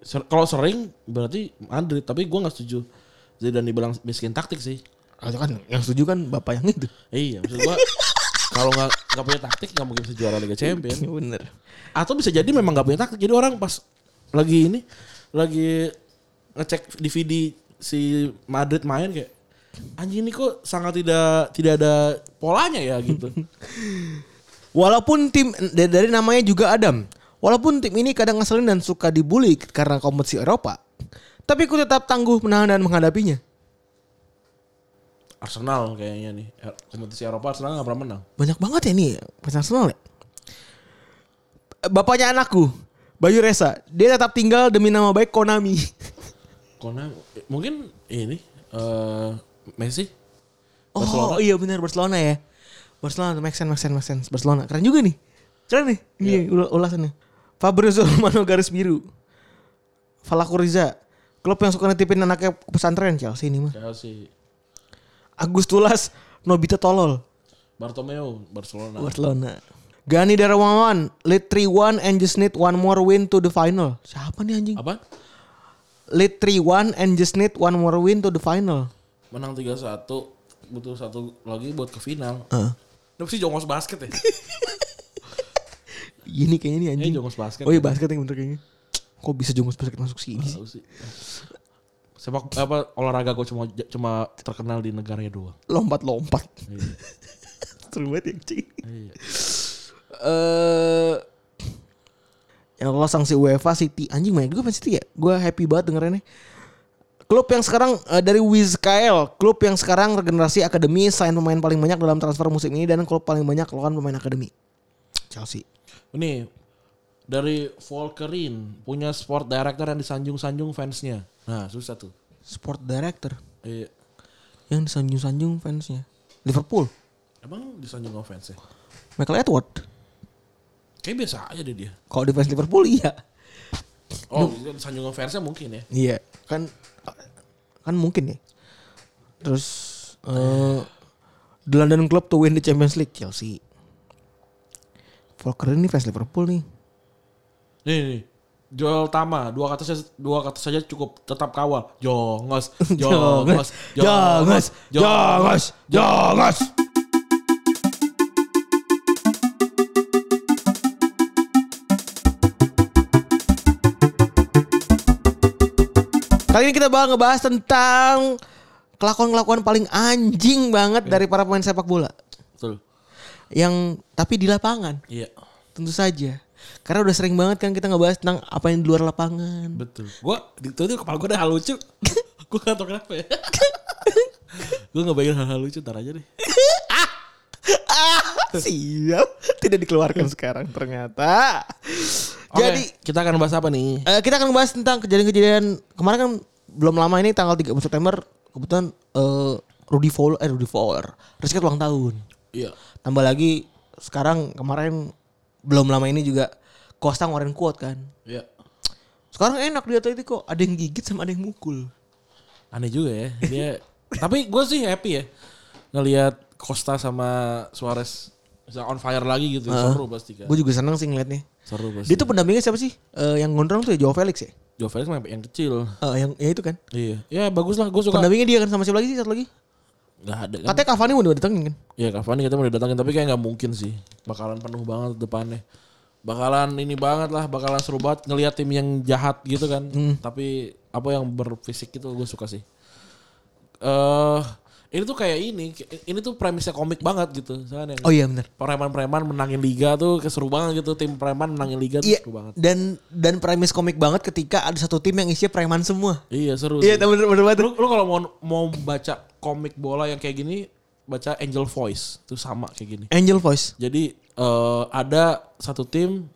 Speaker 3: Ser- Kalau sering berarti Madrid, tapi gua nggak setuju. Zidane dibilang miskin taktik sih.
Speaker 2: Atau kan yang setuju kan bapak yang itu.
Speaker 3: Iya, maksud gua kalau nggak nggak punya taktik nggak mungkin bisa juara Liga Champions.
Speaker 2: Bener.
Speaker 3: Atau bisa jadi memang nggak punya taktik. Jadi orang pas lagi ini lagi ngecek DVD si Madrid main kayak anjing ini kok sangat tidak tidak ada polanya ya gitu.
Speaker 2: Walaupun tim da- dari namanya juga Adam, walaupun tim ini kadang ngeselin dan suka dibully karena kompetisi Eropa, tapi ku tetap tangguh menahan dan menghadapinya.
Speaker 3: Arsenal kayaknya nih Er- kompetisi Eropa Arsenal nggak pernah menang.
Speaker 2: Banyak banget ya nih fans Arsenal ya. Bapaknya anakku, Bayu Reza, dia tetap tinggal demi nama baik Konami.
Speaker 3: Kona mungkin ini eh Messi
Speaker 2: Oh
Speaker 3: Barcelona.
Speaker 2: iya benar Barcelona ya. Barcelona make sense, make sense, make sense. Barcelona keren juga nih. Keren nih ini ul- ulasannya. Fabrizio Romano garis biru. Falaku Riza. Klub yang suka nitipin anaknya ke pesantren Chelsea ini mah.
Speaker 3: Chelsea
Speaker 2: Agus Tulas, Nobita Tolol,
Speaker 3: Bartomeu Barcelona.
Speaker 2: Barcelona. Gani Darmawan, lead 3-1 and just need one more win to the final. Siapa nih anjing?
Speaker 3: Apa?
Speaker 2: Lead 3-1 and just need one more win to the final. Eh.
Speaker 3: Menang 3-1 butuh satu lagi buat ke final.
Speaker 2: Heeh.
Speaker 3: Ini pasti jongos basket ya.
Speaker 2: Ini kayaknya nih anjing.
Speaker 3: Ini jongos basket. ya. Iya.
Speaker 2: Oh iya basket yang bener kayaknya. Kok bisa jongos basket masuk sini sih?
Speaker 3: Tahu sih. Sepak apa olahraga gue cuma cuma terkenal di negaranya doang.
Speaker 2: Lompat-lompat.
Speaker 3: Iya.
Speaker 2: Seru banget ya anjing.
Speaker 3: Iya.
Speaker 2: Eh yang lolos sanksi UEFA City anjing banyak juga fans City ya. Gue happy banget dengerinnya. Klub yang sekarang eh, dari Wizkael, klub yang sekarang regenerasi akademi, sign pemain paling banyak dalam transfer musim ini dan klub paling banyak keluaran pemain akademi. Chelsea.
Speaker 3: Ini dari Volkerin punya sport director yang disanjung-sanjung fansnya. Nah susah tuh.
Speaker 2: Sport director
Speaker 3: Iya.
Speaker 2: yang disanjung-sanjung fansnya. Liverpool,
Speaker 3: Emang disanjung sama fansnya?
Speaker 2: Michael Edward.
Speaker 3: Kayak biasa aja deh dia.
Speaker 2: Kalau di fans Liverpool iya.
Speaker 3: Oh, disanjung sama fansnya mungkin ya.
Speaker 2: Iya, kan kan mungkin ya. Terus eh the London Club to win the Champions League Chelsea. Volker ini fans Liverpool nih.
Speaker 3: Nih, nih. Joel Tama, dua kata saja, dua kata saja cukup tetap kawal. Jongos, jongos,
Speaker 2: jongos, jongos, jongos. Kali ini kita bakal ngebahas tentang kelakuan-kelakuan paling anjing banget dari para pemain sepak bola.
Speaker 3: Betul.
Speaker 2: Yang tapi di lapangan,
Speaker 3: Iya,
Speaker 2: tentu saja. Karena udah sering banget kan kita ngebahas tentang apa yang di luar lapangan.
Speaker 3: betul. Gua itu tuh kepala gua udah hal lucu. gua gak tau kenapa ya. gua ngebayangin hal-hal lucu ntar aja deh.
Speaker 2: Ah, Siap, tidak dikeluarkan sekarang ternyata. Jadi
Speaker 3: Oke, kita akan bahas apa nih?
Speaker 2: Eh, kita akan membahas tentang kejadian-kejadian kemarin kan belum lama ini tanggal 30 September kebetulan eh, Rudy Fowler eh Rudy Fowler Rizky ulang tahun.
Speaker 3: Iya.
Speaker 2: Tambah lagi sekarang kemarin belum lama ini juga Costa ngeluarin kuat kan.
Speaker 3: Iya.
Speaker 2: Sekarang enak di Atletico ada yang gigit sama ada yang mukul.
Speaker 3: Aneh juga ya. Dia tapi gue sih happy ya ngelihat Costa sama Suarez bisa on fire lagi gitu. Seru pasti kan.
Speaker 2: Gue juga seneng sih ngeliatnya.
Speaker 3: Seru pasti.
Speaker 2: Dia tuh pendampingnya siapa Ya. Iya sih? Eh, yang gondrong tuh ya Joao Felix ya?
Speaker 3: Joe Felix mah yang kecil.
Speaker 2: Eh, yang ya itu kan.
Speaker 3: Iya. Ya bagus lah. Gue suka.
Speaker 2: Pendampingnya dia kan sama siapa lagi sih satu lagi?
Speaker 3: Gak ada kan.
Speaker 2: Katanya Cavani mau datengin kan.
Speaker 3: Ya Cavani kita mau didatangin. Tapi kayak gak mungkin sih. Bakalan penuh banget depannya. Bakalan ini banget lah. Bakalan seru banget ngelihat tim yang jahat gitu kan.
Speaker 2: Hmm.
Speaker 3: Tapi apa yang berfisik itu gue suka sih. Eh ini tuh kayak ini. Ini tuh premisnya komik banget gitu. Soalnya yang-
Speaker 2: Oh iya benar.
Speaker 3: preman-preman menangin liga tuh seru banget gitu tim preman menangin liga tuh
Speaker 2: Iya.
Speaker 3: seru banget
Speaker 2: Dan dan premis komik banget ketika ada satu tim yang isinya preman semua.
Speaker 3: iya seru
Speaker 2: Iya,
Speaker 3: sih.
Speaker 2: bener bener banget.
Speaker 3: lu, lu kalau mau mau baca komik bola yang kayak gini baca Angel Voice tuh sama kayak gini
Speaker 2: Angel Voice.
Speaker 3: jadi eh, ada satu tim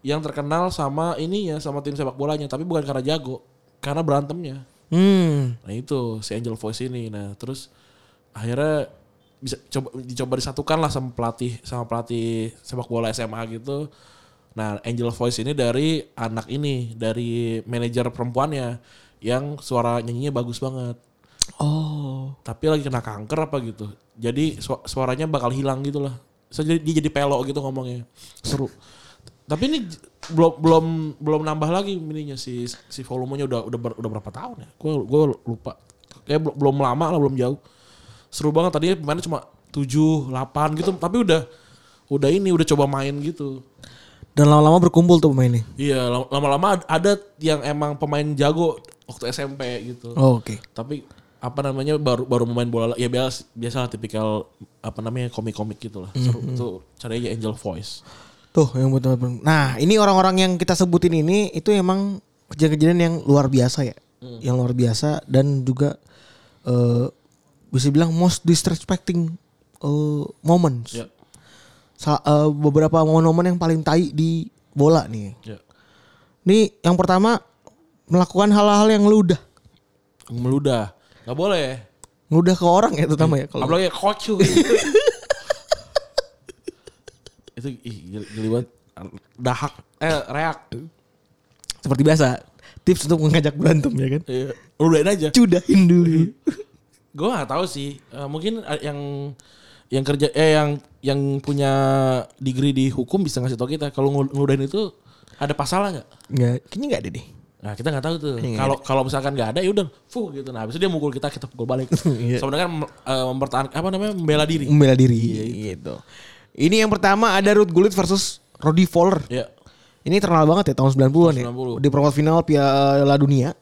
Speaker 3: yang terkenal sama ini ya sama tim sepak bolanya tapi bukan karena jago karena berantemnya
Speaker 2: Hmm.
Speaker 3: Nah itu si Angel Voice ini. Nah terus akhirnya bisa coba dicoba disatukan lah sama pelatih sama pelatih sepak bola SMA gitu. Nah Angel Voice ini dari anak ini dari manajer perempuannya yang suara nyanyinya bagus banget.
Speaker 2: Oh.
Speaker 3: Tapi lagi kena kanker apa gitu. Jadi su- suaranya bakal hilang gitu lah. So, jadi dia jadi pelok gitu ngomongnya. Seru. Tapi ini j- belum belum belum nambah lagi mininya si si volumenya udah udah ber- udah berapa tahun ya? Gue gue lupa. Kayak belum belum lama lah belum jauh. Seru banget tadinya pemainnya cuma 7, 8 gitu tapi udah udah ini udah coba main gitu.
Speaker 2: Dan lama-lama berkumpul tuh pemainnya.
Speaker 3: Iya, lam- lama-lama ad- ada yang emang pemain jago waktu SMP gitu
Speaker 2: Oh, Oke.
Speaker 3: tapi apa namanya baru baru main bola ya biasa biasalah tipikal apa namanya komik-komik gitu lah seru itu caranya Angel Voice
Speaker 2: Tuh yang buat teman-teman. Nah ini orang-orang yang kita sebutin ini itu emang kejadian-kejadian yang luar biasa ya, yang luar biasa dan juga eh bisa bilang most disrespecting eh, moments.
Speaker 3: ya
Speaker 2: Sa- eh, beberapa momen-momen yang paling tai di bola nih.
Speaker 3: ya
Speaker 2: Nih yang pertama melakukan hal-hal yang ngeludah.
Speaker 3: meludah nggak boleh
Speaker 2: Ngeludah ke orang ya terutama ya kalau.
Speaker 3: apalagi kocu itu ih geli geli banget dahak eh reak
Speaker 2: Seperti biasa tips untuk mengajak berantem ya kan.
Speaker 3: Iya. ludahin aja
Speaker 2: Cudahin dulu.
Speaker 3: gue nggak tahu sih Eh, mungkin eh, yang yang kerja eh yang yang punya degree di hukum bisa ngasih tau kita kalau ngel- ngeludahin itu ada pasalnya nggak
Speaker 2: Enggak, kayaknya enggak ada deh.
Speaker 3: Nah kita nggak tahu tuh.
Speaker 2: Iya.
Speaker 3: Kalau kalau misalkan nggak ada ya udah, fuh gitu. Nah habis itu dia mukul kita, kita pukul balik.
Speaker 2: Iya.
Speaker 3: Sebenarnya kan eh, mempertahankan apa namanya membela diri.
Speaker 5: Membela diri.
Speaker 2: gitu. Ini yang pertama ada Ruth Gullit versus Roddy Fowler.
Speaker 3: Iya.
Speaker 2: Ini terkenal banget ya tahun 90-an ya.
Speaker 3: 90.
Speaker 2: Di perempat final Piala Dunia.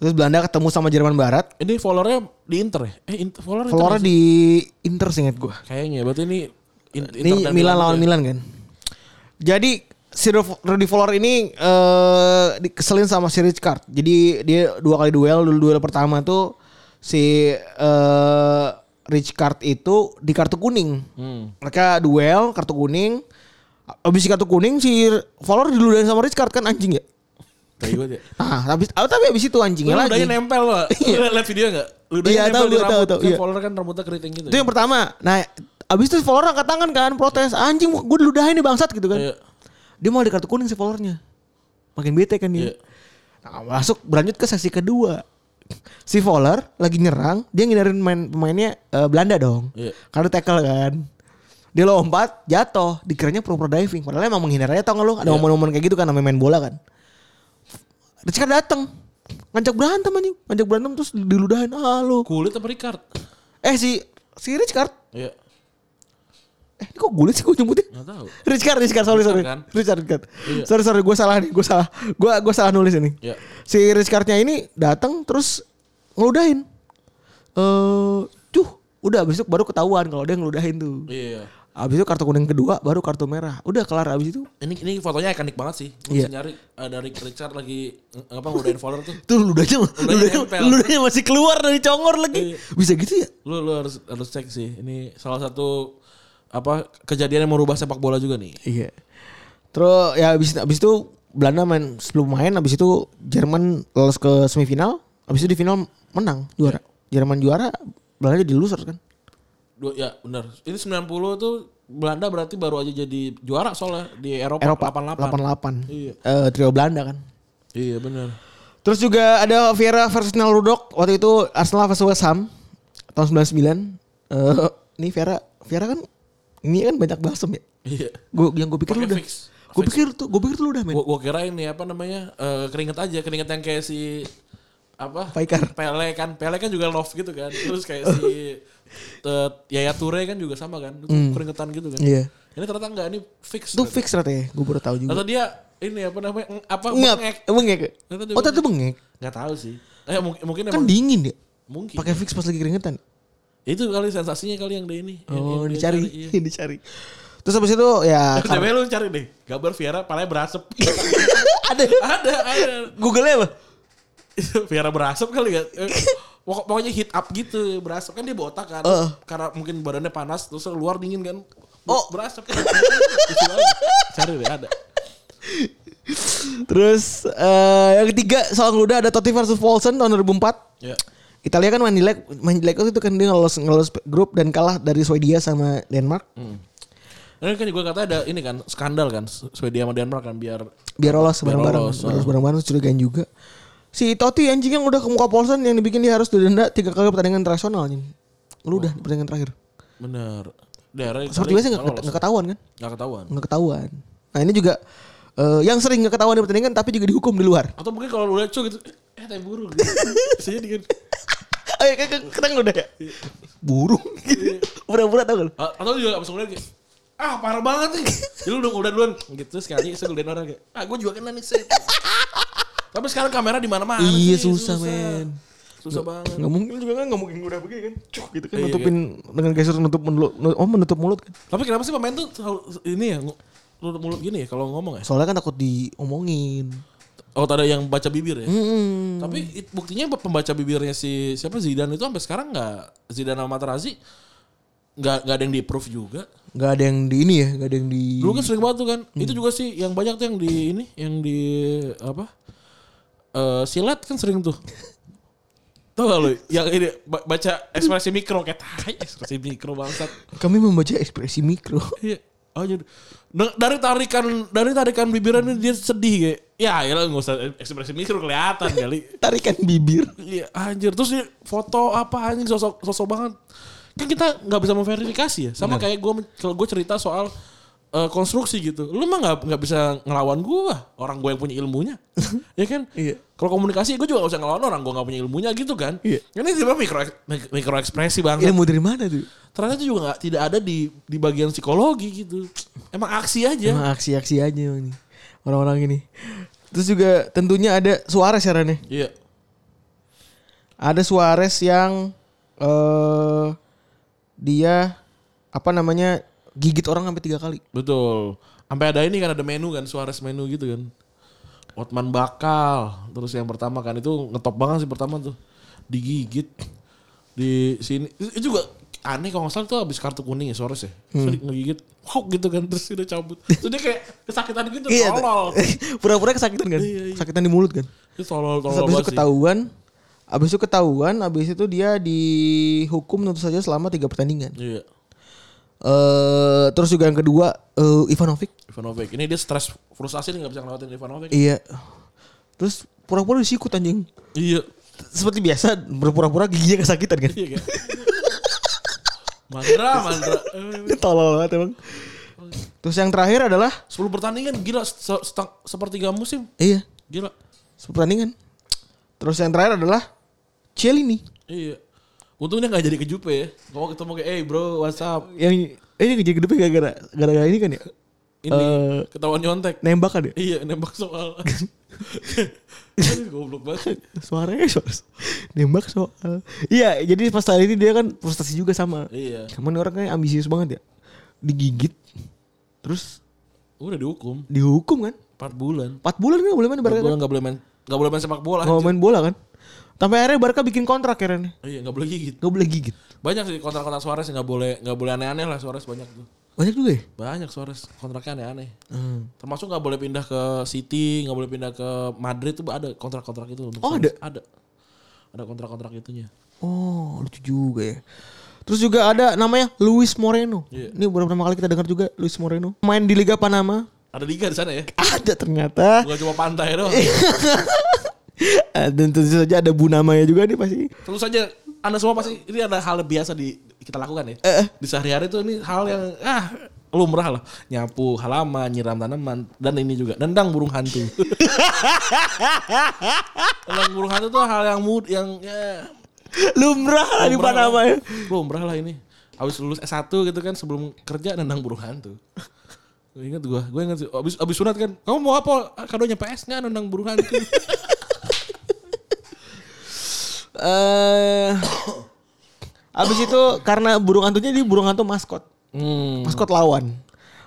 Speaker 2: Terus Belanda ketemu sama Jerman Barat.
Speaker 3: Ini followernya di Inter ya? Eh Inter, follower Inter
Speaker 2: Flora
Speaker 3: nggak sih?
Speaker 2: di Inter seingat gue.
Speaker 3: Kayaknya berarti ini In- Inter
Speaker 2: Ini
Speaker 3: dan iya. ya?
Speaker 2: Milan lawan
Speaker 3: juga.
Speaker 2: Milan kan. Jadi si Ruf- Rudy Fowler ini eh, dikeselin sama si Rijkaard. Jadi dia dua kali duel. Dulu duel pertama tuh si eh Rijkaard itu di kartu kuning.
Speaker 3: Hmm.
Speaker 2: Mereka duel kartu kuning. Abis si kartu kuning si Fowler diludahin sama Rijkaard kan anjing ya.
Speaker 3: Tai banget ya.
Speaker 2: Nah, habis ah, tapi habis itu anjingnya
Speaker 3: Lu ya?
Speaker 2: lagi.
Speaker 3: Ludahnya nempel loh. Lu liat video gak? Ludahnya
Speaker 2: Iya,
Speaker 3: nempel
Speaker 2: tahu,
Speaker 3: di
Speaker 2: tahu,
Speaker 3: rambut.
Speaker 2: tahu,
Speaker 3: Kan
Speaker 2: iya.
Speaker 3: follower kan rambutnya keriting gitu.
Speaker 2: Itu yang pertama. Nah, abis itu Fowler angkat tangan kan protes anjing gue diludahin nih bangsat gitu kan.
Speaker 3: Iya.
Speaker 2: Dia malah di kartu kuning si followernya. Makin bete kan dia.
Speaker 3: Iya.
Speaker 2: Nah, masuk berlanjut ke sesi kedua. Si Fowler lagi nyerang, dia ngindarin main pemainnya eh, Belanda dong.
Speaker 3: Iya.
Speaker 2: Karena tackle kan. Dia lompat, jatuh, dikiranya pro-pro diving. Padahal emang menghindar aja tau gak lu?
Speaker 3: Iya.
Speaker 2: Ada momen-momen kayak gitu kan namanya main bola kan. Rizka dateng ngajak berantem anjing, ngajak berantem terus diludahin ah lu.
Speaker 3: Kulit apa Ricard?
Speaker 2: Eh si si Rizka
Speaker 3: Iya.
Speaker 2: Eh ini kok gulit sih gue nyebutnya?
Speaker 3: Gak tahu.
Speaker 2: Richard, Richard, sorry, sorry.
Speaker 3: kan?
Speaker 2: Richard, Richard. Sorry, sorry, gue salah nih, gue salah. Gue gue salah nulis ini.
Speaker 3: Iya.
Speaker 2: Si Richardnya ini datang terus ngeludahin. Eh, cuh, udah besok baru ketahuan kalau dia ngeludahin tuh.
Speaker 3: Iya.
Speaker 2: Abis itu kartu kuning kedua, baru kartu merah. Udah kelar abis itu.
Speaker 3: Ini ini fotonya ikonik banget sih. Lu
Speaker 2: Iya.
Speaker 3: mesti nyari eh, dari Richard lagi eh, apa ngodain follower tuh.
Speaker 2: Tuh ludahnya, ludahnya,
Speaker 3: nempel. Iya.
Speaker 2: ludahnya masih keluar dari congor lagi. Bisa gitu ya?
Speaker 3: Lu lu harus harus cek sih. Ini salah satu apa kejadian yang merubah sepak bola juga nih.
Speaker 2: Iya. Terus ya abis, abis itu Belanda main sebelum main abis itu Jerman lolos ke semifinal, abis itu di final menang juara.
Speaker 3: Iya.
Speaker 2: Jerman juara, Belanda jadi loser kan.
Speaker 3: Dua, ya benar. Ini 90 tuh Belanda berarti baru aja jadi juara soalnya di Eropa,
Speaker 2: Eropa 88.
Speaker 3: 88. Iya.
Speaker 2: Eh, trio Belanda kan.
Speaker 3: Iya benar.
Speaker 2: Terus juga ada Vieira versus Nel Rudok waktu itu Arsenal versus West Ham tahun 99. Eh ini Vieira, Vieira kan ini kan banyak basem ya.
Speaker 3: Iya.
Speaker 2: Gua yang gue pikir lu
Speaker 3: Pakai
Speaker 2: udah.
Speaker 3: fix.
Speaker 2: Gue pikir tuh, gue pikir tuh lu udah main.
Speaker 3: Gua, gua kira ini apa namanya eh, keringet aja keringet yang kayak si apa
Speaker 2: Paikar.
Speaker 3: Pele kan Pele kan juga love gitu kan terus kayak si eh, Yaya Ture kan juga sama kan Itu keringetan gitu kan
Speaker 2: Iya.
Speaker 3: ini ternyata enggak ini fix
Speaker 2: Itu
Speaker 3: ternyata.
Speaker 2: fix ternyata ya, gue baru tahu juga.
Speaker 3: atau dia ini apa namanya eng- apa Oh, bengek.
Speaker 2: Ngap, bengek.
Speaker 3: Ternyata dia
Speaker 2: Oh, ternyata bengek.
Speaker 3: nggak tahu sih eh, mungkin mungkin
Speaker 2: kan
Speaker 3: emang-
Speaker 2: dingin ya
Speaker 3: mungkin
Speaker 2: pakai fix pas lagi keringetan
Speaker 3: itu kali sensasinya kali yang dia ini Yang-
Speaker 2: oh
Speaker 3: yang dia
Speaker 2: dicari
Speaker 3: cari, iya.
Speaker 2: Yang dicari terus habis itu ya
Speaker 3: Coba lu cari deh gambar Viera palanya berasap
Speaker 2: ada
Speaker 3: ada ada
Speaker 2: Google nya apa
Speaker 3: Viera berasap kali ya. Eh, pokok- pokoknya hit up gitu berasap kan dia botak kan.
Speaker 2: Heeh.
Speaker 3: Karena mungkin badannya panas terus luar dingin kan.
Speaker 2: Oh.
Speaker 3: berasap. Lucu banget. Cari deh ada.
Speaker 2: terus eh, yang ketiga soal ngeludah ada Totti versus Paulsen tahun 2004
Speaker 3: Ya.
Speaker 2: Italia kan main jelek main jelek waktu itu kan dia ngelos ngelos grup dan kalah dari Swedia sama Denmark
Speaker 3: Hmm. Ini kan juga kata ada ini kan skandal kan Swedia sama Denmark kan biar
Speaker 2: biar lolos
Speaker 3: Biar
Speaker 2: bareng-bareng
Speaker 3: lolos, oh.
Speaker 2: terus bareng-bareng curigaan juga si Totti anjing yang udah ke muka Paulsen yang dibikin dia harus didenda tiga kali pertandingan internasional anjing ngeludah di pertandingan terakhir
Speaker 3: bener daerah
Speaker 2: seperti biasa nggak nggak ketahuan kan
Speaker 3: nggak ketahuan.
Speaker 2: nggak ketahuan. Nah ini juga eh, yang sering nggak ketahuan di pertandingan tapi juga dihukum di luar.
Speaker 3: Atau mungkin kalau udah cu gitu eh tai burung. Gitu. Biasanya dingin.
Speaker 2: Ayo kita kita udah ya. Burung. Iya. Pura-pura tau gak lu?
Speaker 3: A- Atau juga langsung lihat kayak ah parah banget nih. Jadi lu udah udah duluan gitu sekali saya godain orang kayak ah gue juga kena nih set. Tapi sekarang kamera di mana-mana
Speaker 2: Iya
Speaker 3: sih,
Speaker 2: susah men.
Speaker 3: Susah banget.
Speaker 2: Nggak mungkin juga kan nggak mungkin udah begini kan. Cuk gitu kan
Speaker 3: Iya,
Speaker 2: nutupin dengan gestur nutup mulut oh menutup mulut kan.
Speaker 3: Tapi kenapa sih pemain tuh selalu- ini ya ngu- mulut mulut gini ya kalau ngomong ya?
Speaker 2: Soalnya kan takut diomongin.
Speaker 3: Oh ada yang baca bibir ya.
Speaker 2: Hmm.
Speaker 3: Tapi it- buktinya pembaca bibirnya si siapa Zidane itu sampai sekarang nggak Zidane sama Materazzi nggak nggak ada yang di approve juga.
Speaker 2: Gak ada yang di ini ya, gak ada yang di
Speaker 3: Dulu kan sering banget tuh kan. Itu juga sih yang banyak tuh yang di ini, yang di apa? Eh silat kan sering tuh. Tahu gak lu? Yang ini ba- baca ekspresi mikro kayak tai, ekspresi mikro bangsat.
Speaker 2: Kami membaca ekspresi mikro.
Speaker 3: Iya. Oh, jadi- Da- dari tarikan dari tarikan bibirnya ini dia sedih kayak. Ya, ya nggak usah ekspresi mikro kelihatan kali.
Speaker 2: Tarikan bibir.
Speaker 3: Iya, anjir. Terus dia foto apa anjing sosok sosok banget. Kan kita nggak bisa memverifikasi ya. Sama kayak gue kalau gue cerita soal eh, konstruksi gitu. Lu mah nggak nggak bisa ngelawan gua, orang gua yang punya ilmunya. ya kan?
Speaker 2: Iya.
Speaker 3: Kalau komunikasi gua juga nggak bisa ngelawan orang gua nggak punya ilmunya gitu kan.
Speaker 2: Iya.
Speaker 3: Ini tiba mikro mik- mikro ekspresi banget.
Speaker 2: Ilmu dari mana tuh?
Speaker 3: Ternyata itu juga nggak tidak ada di di bagian psikologi gitu. Emang aksi aja.
Speaker 2: Emang aksi-aksi aja emang nih. Orang-orang ini. Terus juga tentunya ada Suarez ya, sarannya.
Speaker 3: Iya.
Speaker 4: Ada Suarez yang eh dia apa namanya gigit orang sampai tiga kali.
Speaker 3: Betul. Sampai ada ini kan ada menu kan, Suarez menu gitu kan. Otman bakal. Terus yang pertama kan itu ngetop banget sih pertama tuh. Digigit di sini. Itu juga aneh kalau nggak salah itu habis kartu kuning ya Suarez ya.
Speaker 4: Hmm.
Speaker 3: Terus dia ngegigit, wow gitu kan terus dia udah cabut. Terus dia kayak kesakitan gitu,
Speaker 4: Iya,
Speaker 3: tolol.
Speaker 2: Pura-pura kesakitan kan? Sakitan di mulut kan?
Speaker 3: Itu tolol-tolol
Speaker 4: Terus abis itu
Speaker 3: banget sih.
Speaker 4: ketahuan, abis itu ketahuan, abis itu dia dihukum tentu saja selama tiga pertandingan.
Speaker 3: Iya.
Speaker 4: eh terus juga yang kedua eh, Ivanovic.
Speaker 3: Ivanovic. Ini dia stres frustasi nih nggak bisa ngelewatin Ivanovic.
Speaker 4: Iya. Terus pura-pura disikut anjing.
Speaker 3: Iya.
Speaker 4: Seperti biasa berpura-pura giginya kesakitan kan.
Speaker 3: Iya kayak. Mandra, mandra. Eh,
Speaker 4: Ini Tolol banget emang. Terus yang terakhir adalah
Speaker 3: 10 pertandingan gila se- setang- sepertiga musim.
Speaker 4: iya,
Speaker 3: Gila.
Speaker 4: pertandingan. Terus yang terakhir adalah Cielini.
Speaker 3: Iya. Untungnya gak jadi ke Jupe ya. Kalau ketemu kayak, eh bro, what's up?
Speaker 2: Yang eh, ini kejadian gedebnya gara-gara gara-gara ini kan ya?
Speaker 3: Ini
Speaker 2: Eh.
Speaker 3: ketahuan nyontek.
Speaker 2: Nembak kan ya?
Speaker 3: Iya, nembak soal. Aduh, goblok banget.
Speaker 2: Suaranya Suarez. Nembak soal. Iya, jadi pas tadi ini dia kan frustasi juga sama.
Speaker 3: Iya.
Speaker 2: Cuman orang kayak ambisius banget ya. Digigit. Terus
Speaker 3: Udah dihukum.
Speaker 2: dihukum kan?
Speaker 3: 4 bulan.
Speaker 2: 4 bulan kan nggak boleh main
Speaker 3: 4
Speaker 2: Barca
Speaker 3: bulan
Speaker 2: kan?
Speaker 3: gak boleh main. Gak boleh main sepak bola.
Speaker 2: Nggak main bola kan? Sampai akhirnya Barca bikin kontrak akhirnya.
Speaker 3: Iya, gak boleh gigit.
Speaker 2: Nggak boleh gigit.
Speaker 3: Banyak sih kontrak-kontrak Suarez yang gak boleh, gak boleh aneh-aneh lah Suarez banyak tuh.
Speaker 2: Banyak juga ya?
Speaker 3: Banyak Suarez kontraknya aneh-aneh.
Speaker 2: Hmm.
Speaker 3: Termasuk gak boleh pindah ke City, gak boleh pindah ke Madrid tuh ada kontrak-kontrak itu. untuk
Speaker 2: Oh,
Speaker 3: Suarez. Ada. Ada kontrak-kontrak itunya.
Speaker 2: Oh, lucu juga ya. Terus juga ada namanya Luis Moreno.
Speaker 3: Iya.
Speaker 2: Ini beberapa kali kita dengar juga Luis Moreno. Main di Liga Panama.
Speaker 3: Ada liga di sana ya.
Speaker 2: Ada ternyata.
Speaker 3: Bukan cuma pantai doang.
Speaker 2: Iya. Eh, Dan tentu saja ada Bu namanya juga nih pasti.
Speaker 3: Tentu saja Anda semua pasti ini ada hal biasa di kita lakukan ya.
Speaker 2: Eh.
Speaker 3: Di sehari-hari tuh ini hal yang ah lumrah lah. Nyapu halaman, nyiram tanaman dan ini juga nendang burung hantu. nendang burung hantu tuh hal yang mood yang ya,
Speaker 2: Lumrah lah di
Speaker 3: lumrah
Speaker 2: Panama
Speaker 3: lah.
Speaker 2: ya.
Speaker 3: Lumrah lah ini. Habis lulus S1 gitu kan sebelum kerja nendang burung hantu. Gue inget gue, gue inget sih. Abis, abis sunat kan, kamu mau apa? Kadonya PS nggak nendang burung hantu.
Speaker 2: Eh Abis itu karena burung hantunya dia burung hantu maskot.
Speaker 3: hmm.
Speaker 2: Maskot lawan.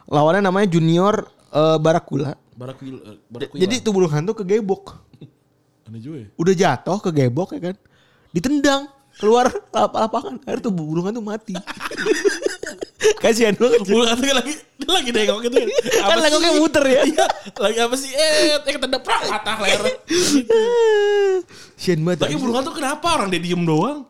Speaker 2: Lawannya namanya Junior eh, Barakula.
Speaker 3: Barakuil, eh, barakuil.
Speaker 2: Jadi itu burung hantu kegebok.
Speaker 3: aneh juga ya.
Speaker 2: Udah jatuh kegebok ya kan. Ditendang keluar lap- lapangan. Akhirnya tuh burung hantu mati. Kasihan banget.
Speaker 3: Bulu hantu kan lagi dia lagi nengok gitu kan.
Speaker 2: Kan lenggoknya
Speaker 3: sih?
Speaker 2: muter ya.
Speaker 3: Iya, lagi apa sih? Eh, eh ketendang prak patah leher.
Speaker 2: Kasihan banget.
Speaker 3: Tapi bulu hantu kenapa orang dia diem doang?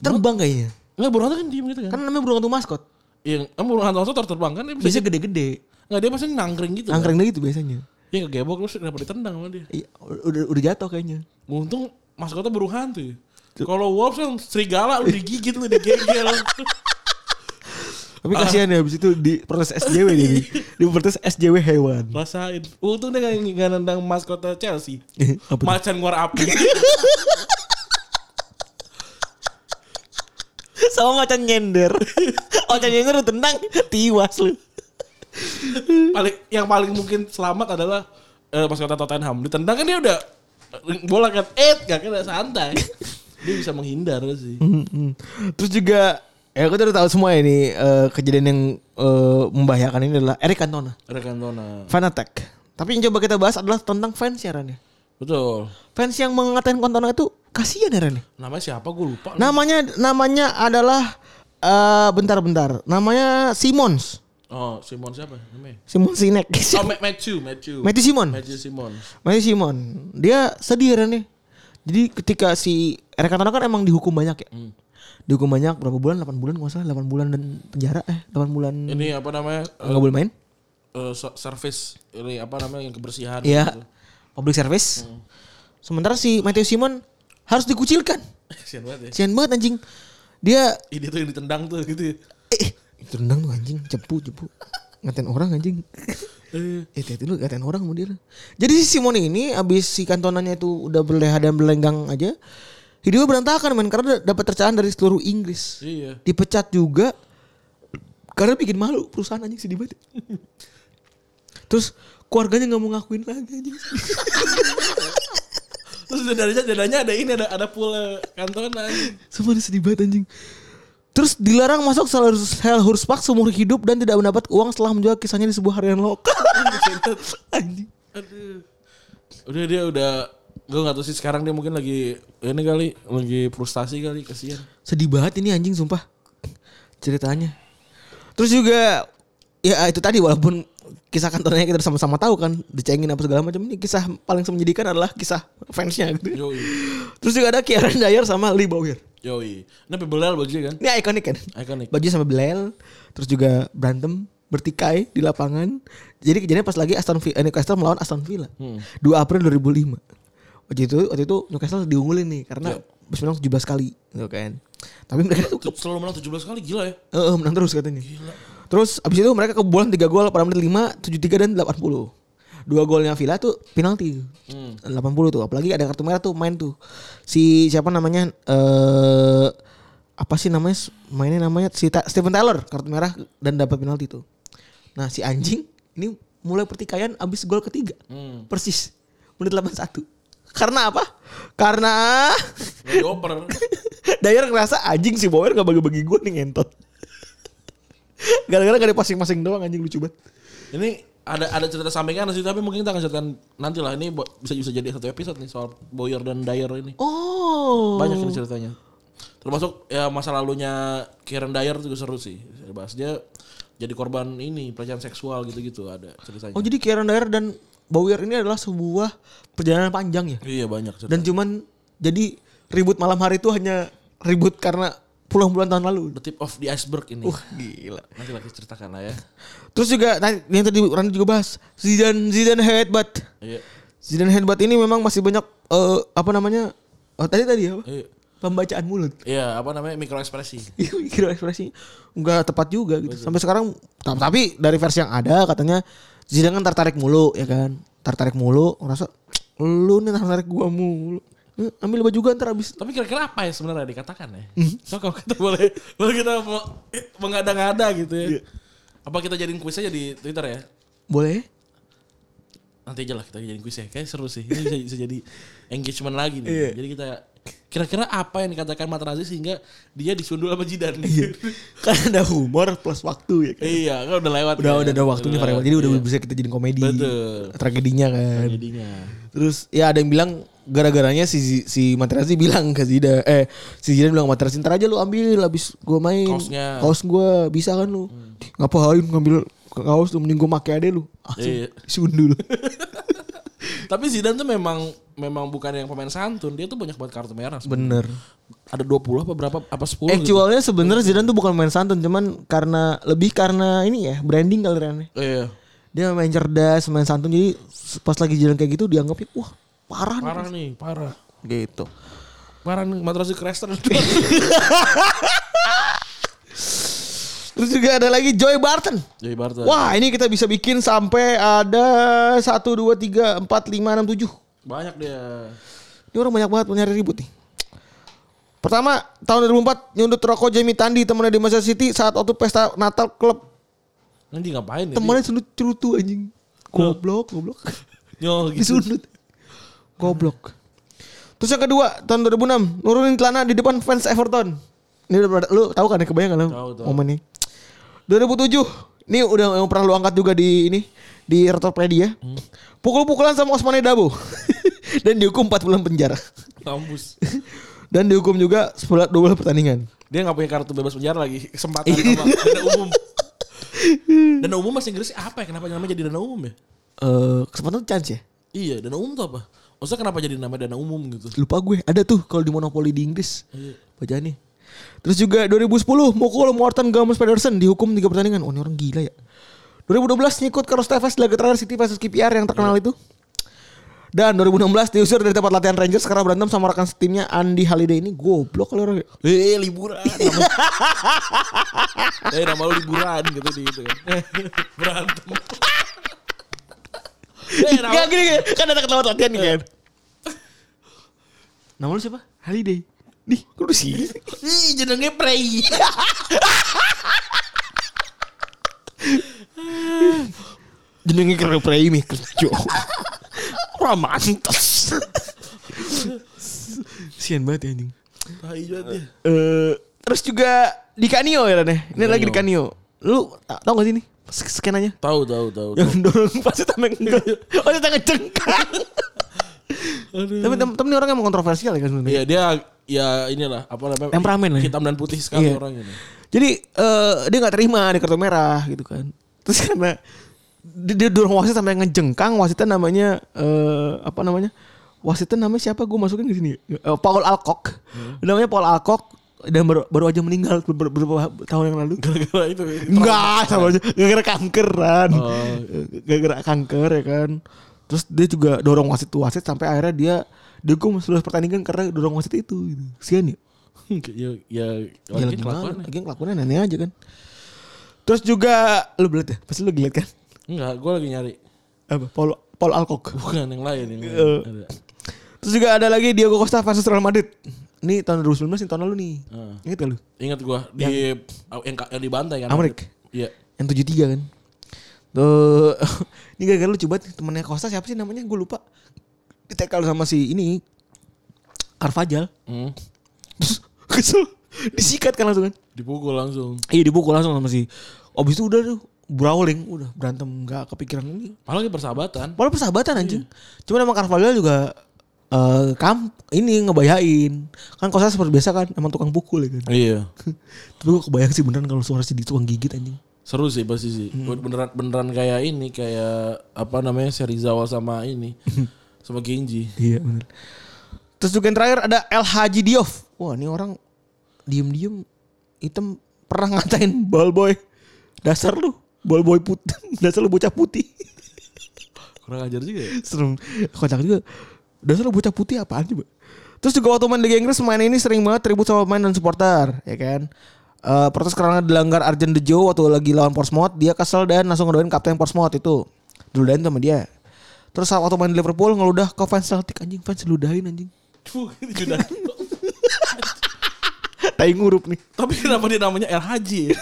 Speaker 2: Terbang kayaknya.
Speaker 3: Enggak bulu hantu kan diem gitu kan.
Speaker 2: Kan namanya burung hantu maskot.
Speaker 3: Iya, kan bulu hantu hantu terbang kan dia bisa
Speaker 2: Bisa gede-gede.
Speaker 3: enggak dia pasti nangkring gitu. Kan?
Speaker 2: Angkring gitu biasanya.
Speaker 3: Dia kegebok terus kenapa ditendang sama dia?
Speaker 2: Iya, udah udah jatuh kayaknya.
Speaker 3: Untung maskotnya burung hantu. ya. Kalau wolves kan serigala lu digigit lu digegel.
Speaker 2: Tapi kasihan ya habis itu di protes SJW dia nih. Di protes SJW hewan.
Speaker 3: Rasain. Untung dia gak, nggak nendang maskotnya Chelsea.
Speaker 2: Eh, Apa tuh?
Speaker 3: Macan keluar api.
Speaker 2: Sama macan nyender. macan nyender lu tendang tiwas lu.
Speaker 3: paling yang paling mungkin selamat adalah eh, pas kata Tottenham ditendang kan dia udah eh, bola kan eh gak kena santai dia bisa menghindar kan sih
Speaker 2: Mm-mm. Terus juga ya aku udah tahu semua ini eh, kejadian yang eh, membahayakan ini adalah Eric Cantona,
Speaker 3: Rekantona
Speaker 2: fan attack. Tapi yang coba kita bahas adalah tentang fans ya Ran ya.
Speaker 3: betul
Speaker 2: Fans yang mengatain Cantona itu kasihan ya Ran ya.
Speaker 3: namanya siapa gue lupa
Speaker 2: Namanya namanya adalah eh, bentar-bentar. Namanya Simons.
Speaker 3: oh Simon siapa namanya
Speaker 2: Simon Sinek.
Speaker 3: oh Ma- Matthew Matthew
Speaker 2: Matthew Simon.
Speaker 3: Matthew Simon
Speaker 2: Masih Simon. Dia sedih ya, Ren nih. Jadi ketika si Eric Cantona kan emang dihukum banyak ya. Dihukum banyak berapa bulan? 8 bulan nggak salah, 8 bulan dan penjara eh 8 bulan
Speaker 3: ini apa namanya eh,
Speaker 2: nggak boleh main.
Speaker 3: eh, so- service ini apa namanya yang kebersihan gitu.
Speaker 2: Iya. Public service. Sementara si Matthew Simon harus dikucilkan.
Speaker 3: Kasian banget ya
Speaker 2: Sian banget anjing. Dia
Speaker 3: ini tuh yang ditendang tuh gitu ya.
Speaker 2: eh tendang tuh anjing, cepu cepu. ngatain orang anjing. Eh, hati lu ngatain orang sama dia. Jadi si Simone ini abis si kantonannya itu udah berleha dan berlenggang aja. Hidupnya berantakan men karena d- dapat tercelaan dari seluruh Inggris.
Speaker 3: Iya.
Speaker 2: Dipecat juga karena bikin malu perusahaan anjing sedih banget. Terus keluarganya nggak mau ngakuin lagi anjing.
Speaker 3: Terus dadanya dadanya ada ini ada eh, ada pula kantonan.
Speaker 2: Semua sedih banget anjing. Terus dilarang masuk Selhurst Park seumur hidup dan tidak mendapat uang setelah menjual kisahnya di sebuah harian lokal. anjing.
Speaker 3: Aduh. Udah dia udah gue gak tahu sih sekarang dia mungkin lagi ini kali lagi frustasi kali kasihan.
Speaker 2: Sedih banget ini anjing sumpah ceritanya. Terus juga ya itu tadi walaupun kisah kantornya kita sama-sama tahu kan dicengin apa segala macam ini kisah paling menyedihkan adalah kisah fansnya gitu.
Speaker 3: Yoi.
Speaker 2: Terus juga ada Kieran Dyer sama Lee Bowyer.
Speaker 3: Yoi. Ini pebelal bajunya kan?
Speaker 2: Ini ikonik kan?
Speaker 3: Iconic.
Speaker 2: Baju sama Belel, terus juga berantem bertikai di lapangan. Jadi kejadiannya pas lagi Aston Villa, eh, Newcastle melawan Aston Villa. 2 April 2005. Waktu itu waktu itu Newcastle diunggulin nih karena habis menang 17 kali gitu kan. Tapi mereka tuh
Speaker 3: Tuh, Selalu menang 17 kali gila ya.
Speaker 2: eh, eh, menang terus katanya. Terus abis itu mereka kebobolan 3 gol pada menit 5, 73 dan 80. Dua golnya Villa tuh penalti. 80 tuh. Apalagi ada kartu merah tuh main tuh. Si siapa namanya eh apa sih namanya? Mainnya namanya si Ta- Steven Tyler kartu merah dan dapat penalti tuh. Nah, si anjing ini mulai pertikaian abis gol ketiga.
Speaker 3: Hmm.
Speaker 2: Persis menit 81. Karena apa? Karena
Speaker 3: Gak dioper.
Speaker 2: Dyer ngerasa anjing si Bower gak bagi-bagi gue nih ngentot. Gara-gara gak ada pasing-pasing doang anjing lucu banget.
Speaker 3: Ini ada ada cerita sampingan sih tapi mungkin kita akan ceritakan nanti lah ini bo- bisa bisa jadi satu episode nih soal Boyer dan Dyer ini.
Speaker 2: Oh.
Speaker 3: Banyak ini ceritanya. Termasuk ya masa lalunya Kieran Dyer juga seru sih. Saya bahas dia jadi korban ini pelecehan seksual gitu-gitu ada ceritanya.
Speaker 2: Oh jadi Kieran Dyer dan Bower ini adalah sebuah perjalanan panjang ya.
Speaker 3: iya banyak cerita.
Speaker 2: Dan cuman jadi ribut malam hari itu hanya ribut karena puluhan bulan tahun lalu.
Speaker 3: The tip of the iceberg ini.
Speaker 2: Wah gila.
Speaker 3: Nanti lagi ceritakan lah ya.
Speaker 2: Terus juga nah, yang tadi Randy juga bahas Zidane Zidane headbutt.
Speaker 3: Iya.
Speaker 2: Zidane headbutt ini memang masih banyak eh, apa namanya? Oh, tadi tadi apa?
Speaker 3: Iya.
Speaker 2: Pembacaan mulut.
Speaker 3: Iya, apa namanya? Mikroekspresi.
Speaker 2: Iya mikir ekspresi nggak tepat juga gitu. Sampai sekarang ta- tapi dari versi yang ada katanya Zidane kan tertarik mulu ya kan. Tertarik mulu ngerasa "Cuk, lu nih tertarik gua mulu. Eh, Ambil baju gua ntar abis
Speaker 3: Tapi kira-kira apa ya sebenarnya dikatakan ya?
Speaker 2: Hmm.
Speaker 3: So kalau kita boleh, boleh kita mau eh, mengada-ngada gitu
Speaker 2: Iya.
Speaker 3: ya. Apa kita jadiin kuisnya di Twitter ya?
Speaker 2: boleh?
Speaker 3: Nanti aja lah kita jadiin kuisnya. Kayak seru sih. Ini bisa, bisa jadi engagement lagi nih.
Speaker 2: Iya.
Speaker 3: Jadi kita kira-kira apa yang dikatakan Materazzi sehingga dia disundul sama Jidan.
Speaker 2: kan ada humor plus waktu ya kan.
Speaker 3: iya, kan udah lewat.
Speaker 2: Udah
Speaker 3: kan?
Speaker 2: udah ada waktunya
Speaker 3: lewat.
Speaker 2: variabel. Jadi udah bisa kita jadiin komedi.
Speaker 3: Betul.
Speaker 2: Tragedinya kan.
Speaker 3: Jadinya.
Speaker 2: Terus ya ada yang bilang gara-garanya si si Materazzi bilang ke Zidane eh si Zidane bilang ke Materazzi ntar aja lu ambil habis gua main
Speaker 3: Kaosnya. Hmm.
Speaker 2: kaos gua bisa kan lu "Dih, ngapain ngambil kaos lu mending gua make aja lu ah,
Speaker 3: Iya.
Speaker 2: sundul
Speaker 3: Tapi Zidane tuh memang memang bukan yang pemain santun. Dia tuh banyak banget kartu merah. sebenarnya.
Speaker 2: bener
Speaker 3: Ada 20 apa berapa apa 10 gitu.
Speaker 2: actualnya sebenarnya Zidane tuh bukan main santun cuman karena lebih karena ini ya branding kali Ren.
Speaker 3: Iya.
Speaker 2: dia main cerdas main santun jadi pas lagi Zidane kayak gitu dianggapnya wah parah, nih."
Speaker 3: Parah nih, parah.
Speaker 2: gitu
Speaker 3: Parah nih, Materazzi crash terus.
Speaker 2: Iya. terus juga ada lagi Joy Barton
Speaker 3: Jadi Barton.
Speaker 2: Wah ini kita bisa bikin sampai ada 1, 2, 3, 4, 5, 6, 7
Speaker 3: Banyak dia.
Speaker 2: Ini orang banyak banget mencari ribut nih Pertama tahun 2004 nyundut rokok Jamie Tandi temannya di Manchester City saat waktu pesta Natal klub
Speaker 3: Nanti ngapain ya?
Speaker 2: temannya sundut cerutu anjing goblok goblok
Speaker 3: Yo gitu.
Speaker 2: disundut goblok terus yang kedua tahun 2006 nurunin celana di depan fans Everton ini udah pernah- lu tahu kan ya kebayang kan lu
Speaker 3: Tahu, tahu.
Speaker 2: momen ini 2007 ini udah yang pernah lu angkat juga di ini di Retropedia pukul-pukulan sama Osmane Dabo dan dihukum 4 bulan penjara
Speaker 3: Kampus.
Speaker 2: dan dihukum juga 10 dua bulan pertandingan
Speaker 3: Dia nggak punya kartu bebas penjara lagi. Kesempatan
Speaker 2: Iya.
Speaker 3: sama dana umum. Dana umum bahasa Inggris apa ya? Kenapa namanya jadi dana umum ya?
Speaker 2: Eh kesempatan chance ya
Speaker 3: Iya, dana umum tuh apa? Maksudnya kenapa jadi nama dana umum gitu?
Speaker 2: lupa gue ada tuh kalau di monopoli di Inggris bacaannya terus juga 2010 mukul Morten Gomes Pedersen dihukum tiga pertandingan oh ini orang Iya. gila ya 2012 ngikut Carlos Tevez laga terakhir City versus KPR yang terkenal itu Dan 2016 diusir dari tempat latihan Rangers karena berantem sama rekan setimnya Andy Halliday ini goblok kali orang.
Speaker 3: Eh liburan. Nama- eh nama lu liburan gitu di gitu kan. Berantem. eh nama
Speaker 2: Gak gini, gini. kan ada ketawa latihan nih kan. Nama lu siapa? Halliday. Nih, kok lu sih?
Speaker 3: Ih, jenenge Prei.
Speaker 2: Jenenge keren prei mi kerjo. Ora mantes. Sian banget ya anjing.
Speaker 3: Tai juga dia.
Speaker 2: Eh, terus juga di Kanio ya Ran, ya? Ini lagi di Kanio. Lu ta- tau gak sih nih? sk- Skenanya.
Speaker 3: Tahu tahu tahu.
Speaker 2: Yang dorong pasti tanda ngejeng. Oh, dia tanda jengkang. Tapi tem- temen ini orang emang kontroversial ya kan sebenarnya.
Speaker 3: Iya dia ya inilah apa namanya?
Speaker 2: Temperamen lah ya.
Speaker 3: Hitam dan putih sekali
Speaker 2: Iya.
Speaker 3: orang ini.
Speaker 2: Jadi eh, dia nggak terima di kartu merah gitu kan. Terus karena dia, dia dorong wasit sampai ngejengkang wasitnya namanya eh, apa namanya? Wasitnya namanya siapa? Gue masukin ke sini. Eh, Paul Alcock. Namanya Paul Alcock dan baru, baru aja meninggal ber- ber- beberapa tahun yang lalu.
Speaker 3: Gara-gara itu.
Speaker 2: Enggak sama aja gara-gara kankeran. Gara-gara kanker ya kan. Terus dia juga dorong wasit wasit sampai akhirnya dia dihukum seluruh pertandingan karena dorong wasit itu. Gitu. Sian ya.
Speaker 3: ya ya
Speaker 2: Ya,
Speaker 3: lagi
Speaker 2: lagi kelakuan
Speaker 3: kelakuan.
Speaker 2: lagi kelakuannya aneh aja kan terus juga lu belet ya pasti lu gelet kan
Speaker 3: Enggak, gue lagi nyari.
Speaker 2: apa Paul Paul Alcock
Speaker 3: Bukan yang lain yang lain.
Speaker 2: Eh.
Speaker 3: Ada.
Speaker 2: terus juga ada lagi Diego Costa versus Real Madrid ini tahun 2019 ini tahun lalu nih
Speaker 3: Heeh.
Speaker 2: inget gak lu
Speaker 3: Ah, Ingat gue di yang, yang dibantai kan.
Speaker 2: Amerik.
Speaker 3: Iya.
Speaker 2: yang 73 kan tuh ini gara-gara lu coba temennya Costa siapa sih namanya gue lupa di tackle sama si ini Carvajal
Speaker 3: Hmm.
Speaker 2: terus kesel disikat kan langsung kan
Speaker 3: Dipukul langsung.
Speaker 2: iya dipukul langsung sama si abis itu udah tuh brawling udah berantem nggak kepikiran ini
Speaker 3: Apalagi persahabatan.
Speaker 2: Malah persahabatan anjing. Cuman emang Carvalho juga eh kam ini ngebayain. Kan kosa seperti biasa kan emang tukang pukul ya kan.
Speaker 3: Iya.
Speaker 2: Tapi gue kebayang sih beneran kalau suara si di tukang gigit anjing.
Speaker 3: Seru sih pasti sih.
Speaker 2: Hmm.
Speaker 3: Beneran beneran kayak ini kayak apa namanya Serizawa sama ini sama Genji.
Speaker 2: Iya bener. Terus juga yang terakhir ada El Haji Diof. Wah ini orang diem-diem hitam pernah ngatain ball boy. Dasar lu ball boy put dasar lu bocah putih.
Speaker 3: Kurang ajar juga ya.
Speaker 2: Serem. Kocak juga. Dasar lu bocah putih apaan coba? Terus juga waktu main Liga Inggris main ini sering banget tribut sama pemain dan supporter, ya kan? Eh protes karena dilanggar Arjen Dejo waktu lagi lawan Portsmouth, dia kesel dan langsung ngedoain kapten Portsmouth itu. Diludahin sama dia. Terus saat waktu main di Liverpool ngeludah ke fans Celtic anjing, fans diludahin anjing.
Speaker 3: Fuh, sudah.
Speaker 2: Tai ngurup nih.
Speaker 3: Tapi kenapa dia namanya El Haji? ya?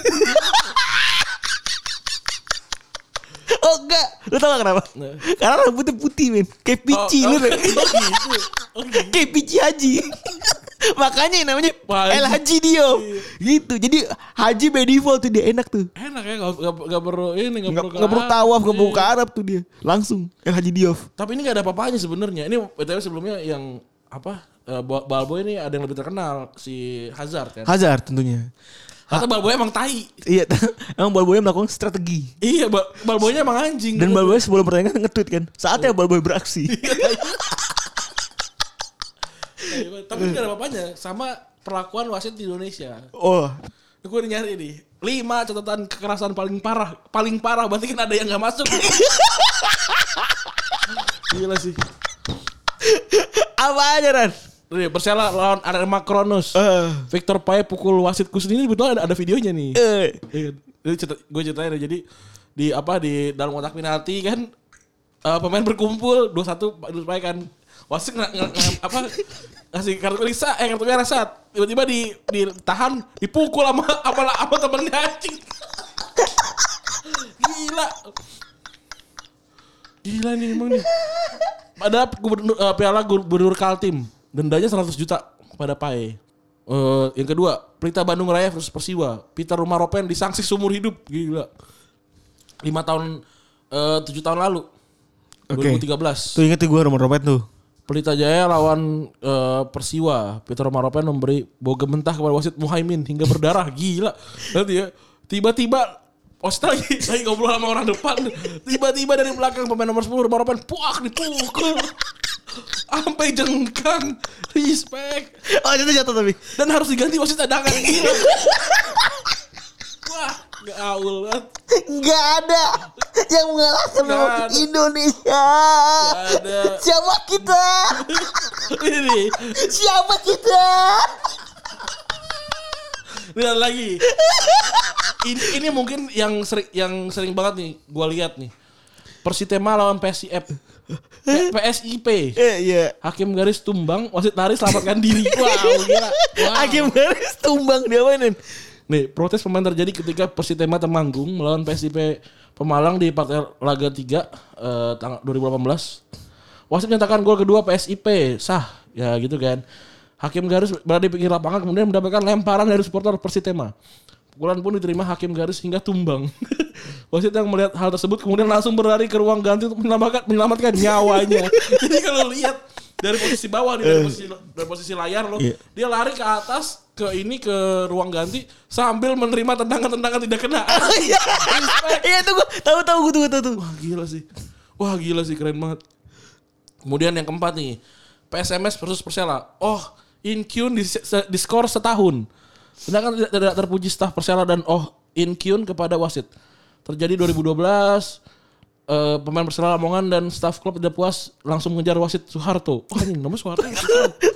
Speaker 2: Oh enggak, lu tau gak kenapa? Nah. Karena rambutnya putih men, kayak pici lu
Speaker 3: Oh, oh,
Speaker 2: Ren.
Speaker 3: gitu. Oh, gitu.
Speaker 2: kayak pici haji. Makanya yang namanya
Speaker 3: Wah,
Speaker 2: El
Speaker 3: anjing.
Speaker 2: Haji Diop. Gitu. Jadi haji by default tuh dia enak tuh.
Speaker 3: Enak ya gak, gak, gak perlu ini gak,
Speaker 2: Nggak
Speaker 3: perlu iya. ke
Speaker 2: nggak perlu
Speaker 3: Arab.
Speaker 2: tawaf, nggak perlu ke Arab tuh dia. Langsung El Haji Diop.
Speaker 3: Tapi ini gak ada apa-apanya sebenarnya. Ini btw sebelumnya yang apa? eh, Ba- Balboy ini ada yang lebih terkenal si Hazard kan.
Speaker 2: Hazard tentunya.
Speaker 3: Kata Balboy emang tai.
Speaker 2: Iya, emang Balboy melakukan strategi.
Speaker 3: Iya, ba Balboynya emang anjing.
Speaker 2: Dan Balboy sebelum pertandingan nge-tweet kan,
Speaker 3: Iya.
Speaker 2: saatnya Balboy beraksi.
Speaker 3: Tapi gak ada apa-apanya sama perlakuan wasit di Indonesia.
Speaker 2: Oh,
Speaker 3: Gue udah nyari nih. Lima catatan kekerasan paling parah. Paling parah berarti kan ada yang gak masuk. Gila sih.
Speaker 2: apa aja Ran?
Speaker 3: Nih, Iya, Persela lawan Arema Kronos.
Speaker 2: Eh.
Speaker 3: Victor Pae pukul wasitku sendiri betul ada, ada videonya nih. Iya,
Speaker 2: Eh,
Speaker 3: Jadi cerita, gue ceritain deh, jadi di apa di dalam kotak penalti kan eh, pemain berkumpul 21 Pak Pae kan wasit nge- nge- nge- apa ngasih kartu kuning sa- eh kartu merah saat tiba-tiba di ditahan dipukul sama apa apa temennya anjing. Gila. Gila nih emang nih. Ada gubernur, eh, piala gubernur Kaltim. Dendanya 100 juta pada Pae. E. Eh, yang kedua, Pelita Bandung Raya versus Persiwa. Peter Rumaropen disangsi seumur hidup. Gila. 5 tahun, eh, 7 tahun lalu.
Speaker 2: Oke.
Speaker 3: 2013.
Speaker 2: tuh inget gue Roman Robert tuh.
Speaker 3: Pelita Jaya lawan eh, Persiwa. Peter Rumaropen memberi boga mentah kepada wasit Muhaimin hingga berdarah. Gila. Nanti ya, tiba-tiba Wasit lagi, lagi ngobrol sama orang depan Tiba-tiba dari belakang pemain nomor 10 Rumaropen puak dipukul Sampai jengkang Respect
Speaker 2: Oh, jatuh jatuh tapi.
Speaker 3: dan harus diganti wasit cadangan gila. Wah, gak aul banget.
Speaker 2: Enggak ada.
Speaker 6: yang mengalahkan
Speaker 3: Nggak
Speaker 6: memang
Speaker 3: ada.
Speaker 6: Indonesia.
Speaker 3: Nggak ada.
Speaker 6: Siapa kita?
Speaker 3: ini
Speaker 6: Siapa kita?
Speaker 3: lihat lagi ini ini mungkin yang sering yang sering banget nih gua lihat nih Persitema lawan PSIP eh, P- PSIP
Speaker 2: Eh,
Speaker 4: Iya, iya.
Speaker 3: Hakim garis tumbang wasit lari selamatkan diri wow gila wow.
Speaker 4: Hakim garis tumbang dia mainin.
Speaker 3: Nih, protes pemain terjadi ketika Persitema Temanggung melawan PSIP Pemalang di partai laga 3 eh, tanggal 2018. Wasit menyatakan gol kedua PSIP sah. Ya gitu kan. Hakim garis berada di pinggir lapangan kemudian mendapatkan lemparan dari supporter Persitema. Pukulan pun diterima hakim garis hingga tumbang. Wasit yang melihat hal tersebut kemudian langsung berlari ke ruang ganti untuk menyelamatkan, menyelamatkan nyawanya. Jadi kalau lihat dari posisi bawah nih, dari posisi dari posisi layar loh. Dia lari ke atas ke ini ke ruang ganti sambil menerima tendangan-tendangan tidak kena.
Speaker 4: Iya tuh gua tahu-tahu gua tuh tuh.
Speaker 3: Wah, gila sih. Wah, gila sih keren banget. Kemudian yang keempat nih, PSMS versus Persela. Oh, Inkyun di, se- di skor setahun. Sedangkan tidak, tidak terpuji staf Persela dan oh Inkyun kepada wasit. Terjadi 2012, eh, pemain Persela Lamongan dan staf klub tidak puas langsung mengejar wasit Soeharto. Wah, ini namanya Soeharto.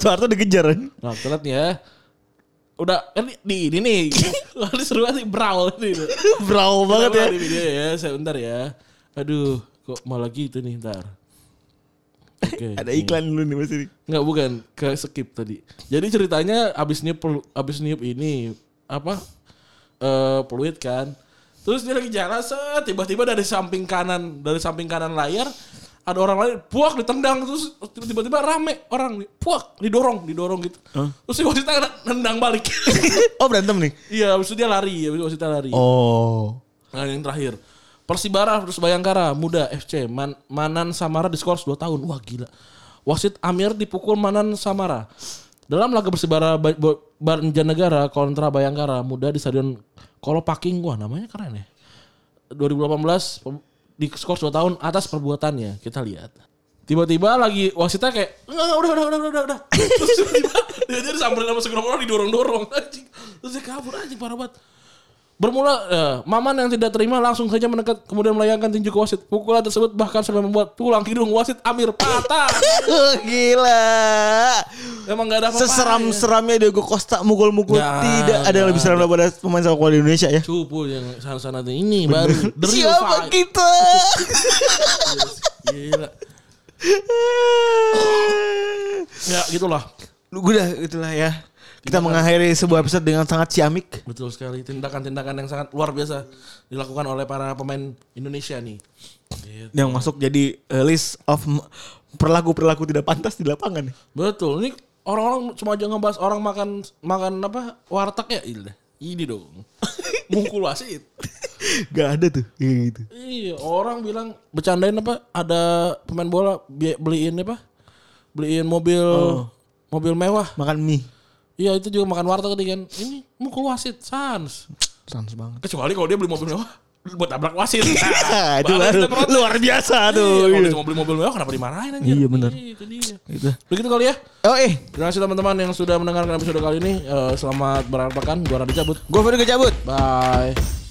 Speaker 4: Soeharto dikejar. kan?
Speaker 3: Nah, kita lihat nih ya. Udah kan di- di ini nih. Lalu seru banget nih brawl ini.
Speaker 4: Brawl banget ya.
Speaker 3: Di video ya, sebentar ya. Aduh, kok malah gitu nih ntar. Oke.
Speaker 4: Ada iklan dulu nih Mas ini.
Speaker 3: Enggak bukan, ke skip tadi. Jadi ceritanya abis niup pelu- abis niup ini apa? eh peluit kan. Terus dia lagi jalan set, tiba-tiba dari samping kanan, dari samping kanan layar ada orang lain puak ditendang terus tiba-tiba rame orang puak didorong didorong gitu terus si wasitnya kena- nendang balik
Speaker 4: Oh berantem nih.
Speaker 3: iya habis itu dia lari habis itu wasitnya lari
Speaker 4: Oh.
Speaker 3: Nah yang terakhir Persibara terus Bayangkara muda FC Man- Manan Samara di skor 2 tahun Wah gila Wasit Amir dipukul Manan Samara Dalam laga Persibara Ba- Bo- Banjarnegara kontra Bayangkara muda di stadion Kolopaking Wah namanya keren ya 2018 pem- di skor 2 tahun atas perbuatannya kita lihat tiba-tiba lagi wasitnya kayak enggak enggak, udah udah udah udah udah terus tiba-tiba dia dia disamperin sama segerombolan orang didorong-dorong anjing terus dia kabur anjing parah banget Bermula eh, Maman yang tidak terima langsung saja mendekat kemudian melayangkan tinju ke wasit. Pukulan tersebut bahkan sampai membuat tulang hidung wasit Amir patah.
Speaker 4: Oh, gila.
Speaker 3: Emang gak ada apa-apa.
Speaker 4: Seseram-seramnya Diego Costa mukul-mukul
Speaker 3: Nggak,
Speaker 4: tidak ada yang lebih seram daripada pemain sepak bola di Indonesia ya.
Speaker 3: Cupu yang sana-sana tuh. ini baru. The real
Speaker 4: Siapa
Speaker 3: fight.
Speaker 6: gitu?
Speaker 4: kita?
Speaker 3: Gila. Ya gitulah.
Speaker 4: Lu udah itulah ya. Kita mengakhiri sebuah episode dengan sangat ciamik.
Speaker 3: Betul sekali tindakan-tindakan yang sangat luar biasa dilakukan oleh para pemain Indonesia nih.
Speaker 4: yang masuk jadi uh, list of m- perilaku-perilaku tidak pantas di lapangan.
Speaker 3: Betul. Ini orang-orang cuma aja ngebahas orang makan makan apa warteg ya ini. Ini dong. Mungkul wasit.
Speaker 4: Gak ada tuh kayak gitu.
Speaker 3: Iya, orang bilang bercandain apa? Ada pemain bola bi- beliin apa? Beliin mobil mobil mewah.
Speaker 4: Makan mie.
Speaker 3: Iya, itu juga makan warteg tadi kan. Ini mukul wasit sans.
Speaker 4: Sans banget.
Speaker 3: Kecuali kalau dia beli mobil mewah buat tabrak wasit.
Speaker 4: Ah, itu
Speaker 3: Iya, baru
Speaker 4: baru
Speaker 3: kita protes.
Speaker 4: luar biasa
Speaker 3: Iya,
Speaker 4: tuh.
Speaker 3: kalau
Speaker 4: Iya.
Speaker 3: dia cuma beli mobil mewah kenapa dimarahin anjir?
Speaker 4: Iya, benar.
Speaker 3: Itu dia.
Speaker 4: Gitu.
Speaker 3: Begitu kali ya.
Speaker 4: Oh eh,
Speaker 3: Terima kasih teman-teman yang sudah mendengarkan episode kali ini. Eh, selamat berharpakan. Gua Raditya cabut.
Speaker 4: gue baru kecabut.
Speaker 3: Bye.